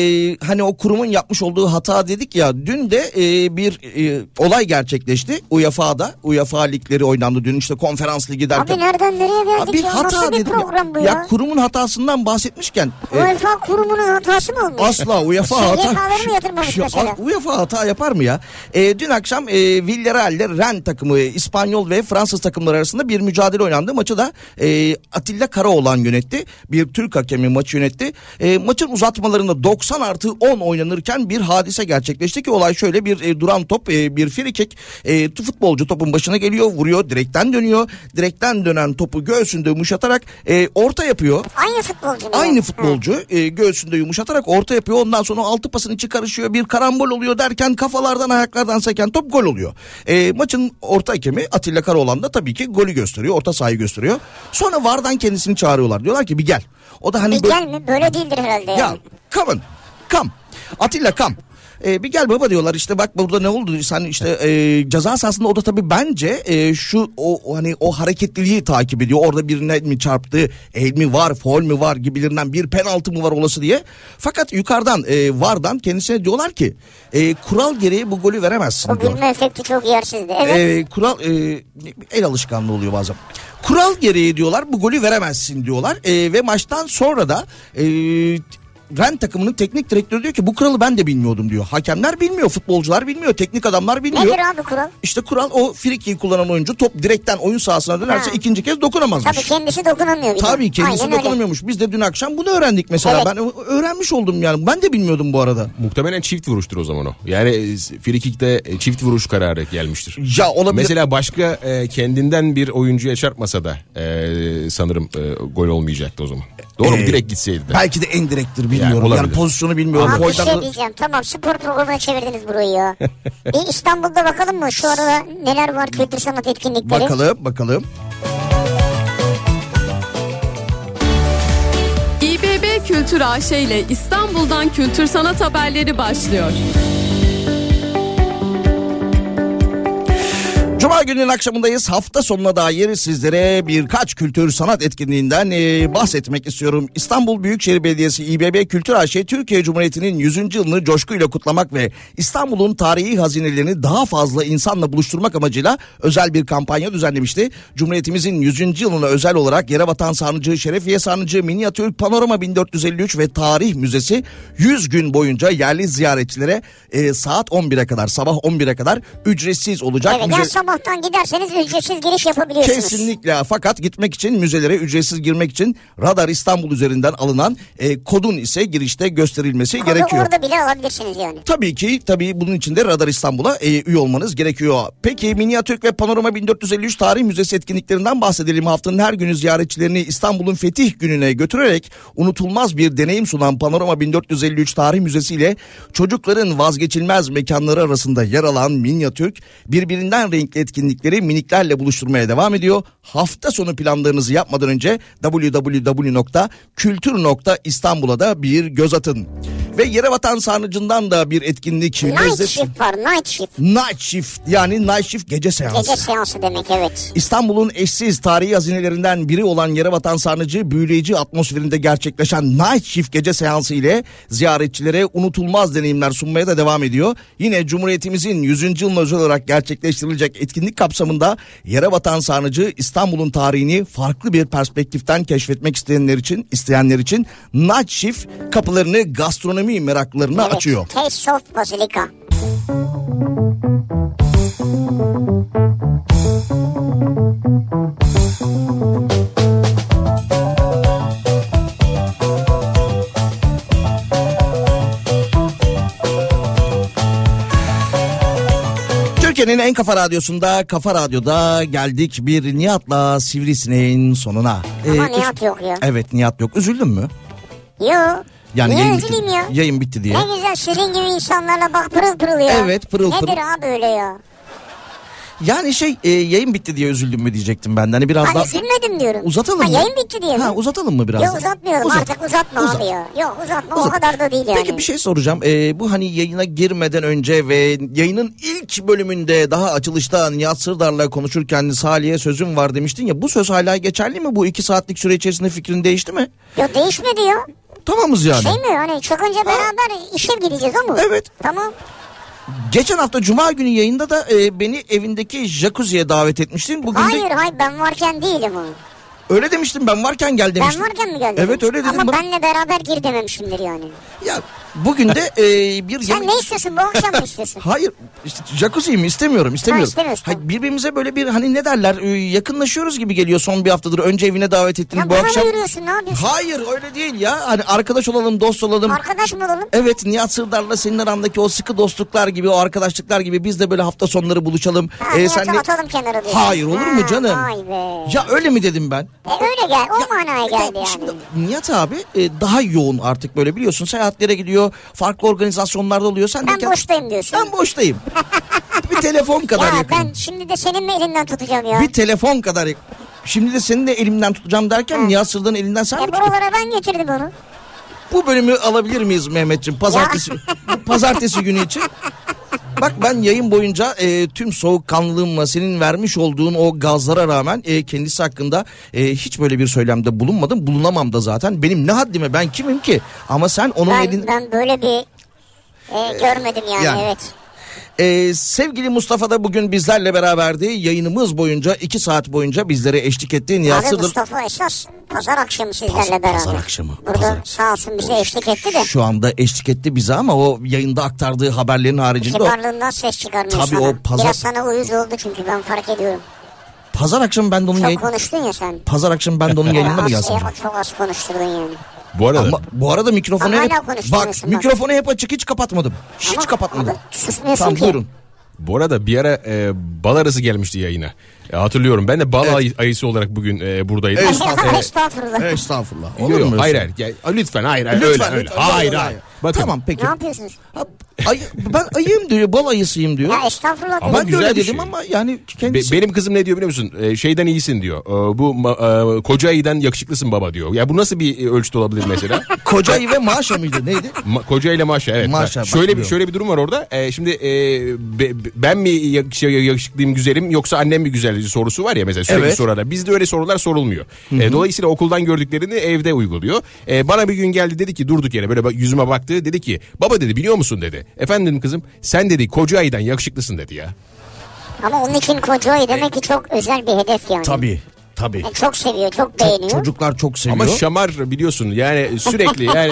D: hani o kurumun yapmış olduğu hata dedik ya dün de e, bir e, olay gerçekleşti E UEFA'da UEFA ligleri oynandı dün işte konferans ligi derken
C: Abi nereden nereye
D: Ya
C: geldik ya? Nasıl bir
D: dedim ya.
C: program bu
D: ya.
C: ya?
D: kurumun hatasından bahsetmişken e,
C: UEFA kurumunun hatası mı olmuş?
D: Asla UEFA
C: Şey,
D: hata.
C: yakaları mı yatırmamış
D: Şu-
C: mesela?
D: UEFA hata yapar mı ya? E, dün akşam e, Villarreal'le Rennes takımı İspanyol ve Fransız takımları arasında bir mücadele oynandı. Maçı da e, Atilla Karaoğlan yönetti. Bir Türk hakemi maçı yönetti. E, maçın uzatmalarında 90 artı 10 oynanırken bir hadise gerçekleşti ki olay şöyle bir e, duran top e, bir free kick e, t- futbolcu topun başına geliyor vuruyor direkten dönüyor. Direkten dönen topu göğsünde yumuşatarak e, orta yapıyor.
C: Aynı futbolcu mu?
D: Aynı
C: ya?
D: futbolcu e, göğsünde yumuşatarak orta yapıyor. Ondan sonra altı pasın içi karışıyor. Bir karambol oluyor derken kafalardan ayaklardan seken top gol oluyor. E, maçın orta hakemi Atilla Karaoğlan da tabii ki golü gösteriyor. Orta sahayı gösteriyor. Sonra VAR'dan kendisini çağırıyorlar. Diyorlar ki bir gel. O da hani
C: Bir
D: böyle...
C: gel mi? Böyle değildir herhalde.
D: Ya
C: yani.
D: come on. Come. Atilla come. E, bir gel baba diyorlar işte bak burada ne oldu sen işte e, ceza sahasında o da tabii bence e, şu o o hani o hareketliliği takip ediyor. Orada birine mi çarptı el mi var foul mü var gibilerinden bir penaltı mı var olası diye. Fakat yukarıdan e, vardan kendisine diyorlar ki e, kural gereği bu golü veremezsin
C: O
D: diyor.
C: gülme efekti çok yersizdi. Evet.
D: Ee, kural e, el alışkanlığı oluyor bazen. Kural gereği diyorlar bu golü veremezsin diyorlar Ee, ve maçtan sonra da e, Ren takımının teknik direktörü diyor ki bu kuralı ben de bilmiyordum diyor. Hakemler bilmiyor, futbolcular bilmiyor, teknik adamlar bilmiyor.
C: Nedir abi kural?
D: İşte kural o frikiki kullanan oyuncu top direkten oyun sahasına dönerse
C: Ha.
D: ikinci kez dokunamazmış.
C: Tabii kendisi dokunamıyor. bir de.
D: Tabii kendisi
C: Aynen öyle.
D: dokunamıyormuş. Biz de dün akşam bunu öğrendik mesela.
C: Evet.
D: Ben ö- öğrenmiş oldum yani. Ben de bilmiyordum bu arada.
E: Muhtemelen çift vuruştur o zaman o. Yani e, frikikte e, çift vuruş kararı gelmiştir.
D: Ya olabilir.
E: Mesela başka e, kendinden bir oyuncuya çarpmasa da e, sanırım e, gol olmayacaktı o zaman. Doğru mu?
D: Ee,
E: Direkt gitseydi de.
D: Belki de en direktir bilmiyorum. Yani,
E: olabilir.
D: pozisyonu bilmiyorum.
C: Abi bir
D: Boydan-
C: şey diyeceğim. Tamam spor programına çevirdiniz burayı ya. bir İstanbul'da bakalım mı şu arada neler var kültür sanat etkinlikleri?
D: Bakalım bakalım.
G: İBB Kültür AŞ ile İstanbul'dan kültür sanat haberleri başlıyor.
D: Cuma gününün akşamındayız. Hafta sonuna dair sizlere birkaç kültür sanat etkinliğinden e, bahsetmek istiyorum. İstanbul Büyükşehir Belediyesi İBB Kültür AŞ Türkiye Cumhuriyeti'nin 100. yılını coşkuyla kutlamak ve İstanbul'un tarihi hazinelerini daha fazla insanla buluşturmak amacıyla özel bir kampanya düzenlemişti. Cumhuriyetimizin 100. yılına özel olarak Yerebatan Sarnıcı, Şerefiye Sarnıcı, Minyatür Panorama 1453 ve Tarih Müzesi 100 gün boyunca yerli ziyaretçilere e, saat 11'e kadar sabah 11'e kadar ücretsiz olacak.
C: Evet
D: Müze-
C: ya sabahtan giderseniz ücretsiz giriş yapabiliyorsunuz.
D: Kesinlikle fakat gitmek için müzelere ücretsiz girmek için Radar İstanbul üzerinden alınan e, kodun ise girişte gösterilmesi
C: Kodu
D: gerekiyor.
C: orada bile alabilirsiniz yani.
D: Tabii ki tabii bunun için de Radar İstanbul'a e, üye olmanız gerekiyor. Peki Minyatürk ve Panorama 1453 Tarih Müzesi etkinliklerinden bahsedelim. Haftanın her günü ziyaretçilerini İstanbul'un fetih gününe götürerek unutulmaz bir deneyim sunan Panorama 1453 Tarih Müzesi ile çocukların vazgeçilmez mekanları arasında yer alan Minyatürk birbirinden renkli etkinlikleri miniklerle buluşturmaya devam ediyor. Hafta sonu planlarınızı yapmadan önce www.kültür.istanbul'a da bir göz atın. Ve Yerevatan Sarnıcı'ndan da bir etkinlik.
C: Night
D: lezzet-
C: shift var night shift.
D: Night Shift yani Night Shift gece seansı.
C: Gece seansı demek evet.
D: İstanbul'un eşsiz tarihi hazinelerinden biri olan Yerebatan Sarnıcı büyüleyici atmosferinde gerçekleşen Night Shift gece seansı ile ziyaretçilere unutulmaz deneyimler sunmaya da devam ediyor. Yine Cumhuriyetimizin 100. yılına özel olarak gerçekleştirilecek etkinlik kapsamında Yerebatan Sarnıcı İstanbul'un tarihini farklı bir perspektiften keşfetmek isteyenler için isteyenler için Night Shift kapılarını gastronomi meraklarına
C: evet.
D: açıyor.
C: Taste of Basilica.
D: Türkiye'nin en kafa radyosunda Kafa Radyo'da geldik bir Nihat'la Sivrisineğin sonuna.
C: Ama
D: Ee,
C: Nihat yok ya.
D: Evet Nihat yok. Üzüldün mü?
C: Yo. Niye
D: yayın bitti,
C: üzüleyim ya?
D: Yayın bitti diye.
C: Ne güzel sizin gibi insanlarla bak pırıl pırıl ya.
D: Evet, pırıl pırıl.
C: Nedir abi öyle ya?
D: Yani şey e, yayın bitti diye üzüldün mü diyecektim ben. de. Hani biraz
C: Hani
D: daha
C: üzülmedim diyorum.
D: uzatalım
C: ha,
D: mı?
C: Yayın bitti diye. mi?
D: Ha uzatalım mı biraz?
C: Yok uzatmayalım
D: Uzat.
C: artık uzatma
D: Uzat.
C: abi ya. Yok uzatma o
D: Uzat.
C: kadar da değil yani.
D: Peki bir şey soracağım. Ee, bu hani yayına girmeden önce ve yayının ilk bölümünde daha açılışta Nihat Sırdar'la konuşurken Salih'e sözüm var demiştin ya. Bu söz hala geçerli mi? Bu iki saatlik süre içerisinde fikrin değişti mi?
C: Yok değişmedi ya.
D: Tamamız yani.
C: Şey mi hani çakınca beraber işe gideceğiz o mu?
D: Evet.
C: Tamam.
D: Geçen hafta Cuma günü yayında da e, beni evindeki jacuzziye davet etmiştin. Bugün
C: Hayır
D: de
C: hayır ben varken değilim o.
D: öyle demiştim ben varken gel
C: Ben
D: demiştim.
C: varken mi gönderdim?
D: Evet öyle dedim.
C: Ama
D: Bana-
C: benle beraber gir dememişimdir yani.
D: Ya bugün de e, bir
C: Sen
D: yemek-
C: ne istiyorsun bu akşam mı istiyorsun?
D: Hayır işte jacuzziyi mi istemiyorum istemiyorum.
C: istemiyorsun.
D: Hayır, birbirimize böyle bir hani ne derler e, yakınlaşıyoruz gibi geliyor son bir haftadır. Önce evine davet ettin
C: ya
D: bu
C: bana
D: akşam.
C: mı yürüyorsun ne yapıyorsun?
D: Hayır öyle değil ya. Hani arkadaş olalım dost olalım.
C: Arkadaş mı olalım?
D: Evet Nihat Sırdar'la senin arandaki o sıkı dostluklar gibi o arkadaşlıklar gibi biz de böyle hafta sonları buluşalım.
C: Ha,
D: Ee,
C: Nihat'ı
D: senle-
C: atalım kenara diyorsun.
D: Hayır olur mu
C: Ha,
D: canım?
C: Vay be.
D: Ya öyle mi dedim ben?
C: E, öyle gel o manaya
D: Ya
C: geldi yani.
D: Şimdi Nihat abi e, daha yoğun artık böyle biliyorsun seyahatlere gidiyor farklı organizasyonlarda oluyor. Sen de
C: Ben
D: kend-
C: boştayım diyorsun.
D: Ben boştayım. bir telefon kadar
C: ya
D: yakınım.
C: ben şimdi de senin mi elinden tutacağım ya?
D: Bir telefon kadar yak- Şimdi de senin de elimden tutacağım derken Nihat Sırdar'ın elinden sen mi
C: E
D: tuttun?
C: buralara ben getirdim onu.
D: Bu bölümü alabilir miyiz Mehmetciğim? Pazartesi pazartesi günü için. Bak ben yayın boyunca e, tüm soğukkanlılığımla senin vermiş olduğun o gazlara rağmen e, kendisi hakkında e, hiç böyle bir söylemde bulunmadım. Bulunamam da zaten. Benim ne haddime ben kimim ki? Ama sen onun elin... Ee,
C: Ben, ben böyle bir e, görmedim yani,
D: yani.
C: evet.
D: Ee, sevgili Mustafa da bugün bizlerle beraberdi. Yayınımız boyunca 2 saat boyunca bizlere eşlik etti. Nihat
C: Abi
D: Sırdar-
C: Mustafa esas pazar akşamı sizlerle
D: Pazar-
C: beraber.
D: pazar akşamı,
C: Burada
D: pazar-
C: sağ olsun bize eşlik etti de.
D: Şu anda eşlik etti bize ama o yayında aktardığı haberlerin haricinde o
C: Kibarlığından ses çıkarmıyor
D: Tabii
C: sana.
D: o pazar-
C: Biraz sana uyuz oldu çünkü ben fark ediyorum.
D: pazar akşamı ben de onun
C: Çok
D: yayın...
C: konuştun ya sen.
D: pazar akşamı ben de onun yayınına mı
C: Az-
D: yazsam?
C: e, Çok az konuşturdun yani.
E: Bu arada
D: Ama bu arada mikrofonu
C: Ama hala
D: hep
C: konuşuyorsun
D: bak,
C: bak.
D: mikrofonu hep açık hiç kapatmadım. Hiç
C: Ama-
D: kapatmadım.
C: ama susmuyorsun
D: tamam,
C: ki.
D: buyurun.
E: bu arada bir ara e, bal arası gelmişti yayına. E, hatırlıyorum ben de bal ay- ayısı olarak bugün e, buradaydım.
C: Estağfurullah. Estağfurullah.
D: Estağfurullah.
E: Yok,
D: Olur
E: yok,
D: mu?
E: Hayır hayır. Ya, lütfen hayır hayır.
D: Lütfen,
E: öyle, öyle.
D: lütfen.
E: hayır hayır. Bakın.
D: Tamam peki.
C: Ne yapıyorsunuz?
D: Ha, Ay, ben ayıyım diyor. Bal ayısıyım diyor.
C: Ya estağfurullah.
E: Ama
D: ben de
E: güzel
D: öyle
E: bir
D: dedim
E: şey.
D: ama yani
E: Be-
D: kendisi...
E: benim kızım ne diyor biliyor musun? E, şeyden iyisin diyor. E, bu ma- e, koca ayıdan yakışıklısın baba diyor. Ya bu nasıl bir e, ölçüt olabilir mesela?
D: Koca ayı ve maaşa mıydı neydi?
E: Ma- Koca ile Maşa evet.
D: Maşa, bak,
E: şöyle bir
D: biliyorum.
E: şöyle bir durum var orada. Ee, şimdi e, be- be- ben mi yakış- yakışıklıyım güzelim yoksa annem mi güzel sorusu var ya mesela sürekli
D: Evet.
E: sorarlar. Bizde öyle sorular sorulmuyor. Ee, dolayısıyla okuldan gördüklerini evde uyguluyor. Ee, bana bir gün geldi dedi ki durduk yere böyle bak- yüzüme baktı dedi ki baba dedi biliyor musun dedi. Efendim kızım sen dedi koca aydan yakışıklısın dedi ya.
C: Ama onun için kocayı demek ki çok özel bir hedef yani.
D: Tabii. Tabii.
C: Yani çok seviyor, çok
D: Çok,
C: beğeniyor.
D: çocuklar çok seviyor.
E: Ama şamar biliyorsun yani sürekli yani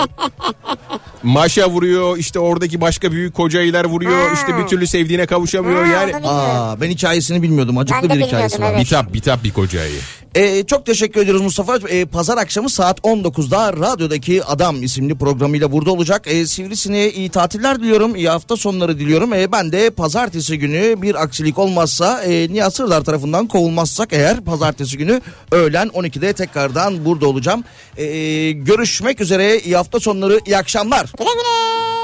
E: maşa vuruyor işte oradaki başka büyük kocaylar vuruyor
C: Ha.
E: işte bir türlü sevdiğine kavuşamıyor
C: Ha,
E: yani.
C: onu
D: Aa, ben hikayesini bilmiyordum.
C: Ben
D: Acıklı
C: de
D: bir hikayesi var.
C: bilmiyordum,
E: Bitap bitap bir kocayı.
D: Ee, çok teşekkür ediyoruz Mustafa. Ee, Pazar akşamı saat 19'da radyodaki Adam isimli programıyla burada olacak. Ee, Sivrisine'ye iyi tatiller diliyorum. iyi hafta sonları diliyorum. Ee, ben de pazartesi günü bir aksilik olmazsa e, Nihat Sırdar tarafından kovulmazsak eğer pazartesi günü öğlen 12'de tekrardan burada olacağım. Ee, görüşmek üzere. iyi hafta sonları. iyi akşamlar.
C: Güle güle.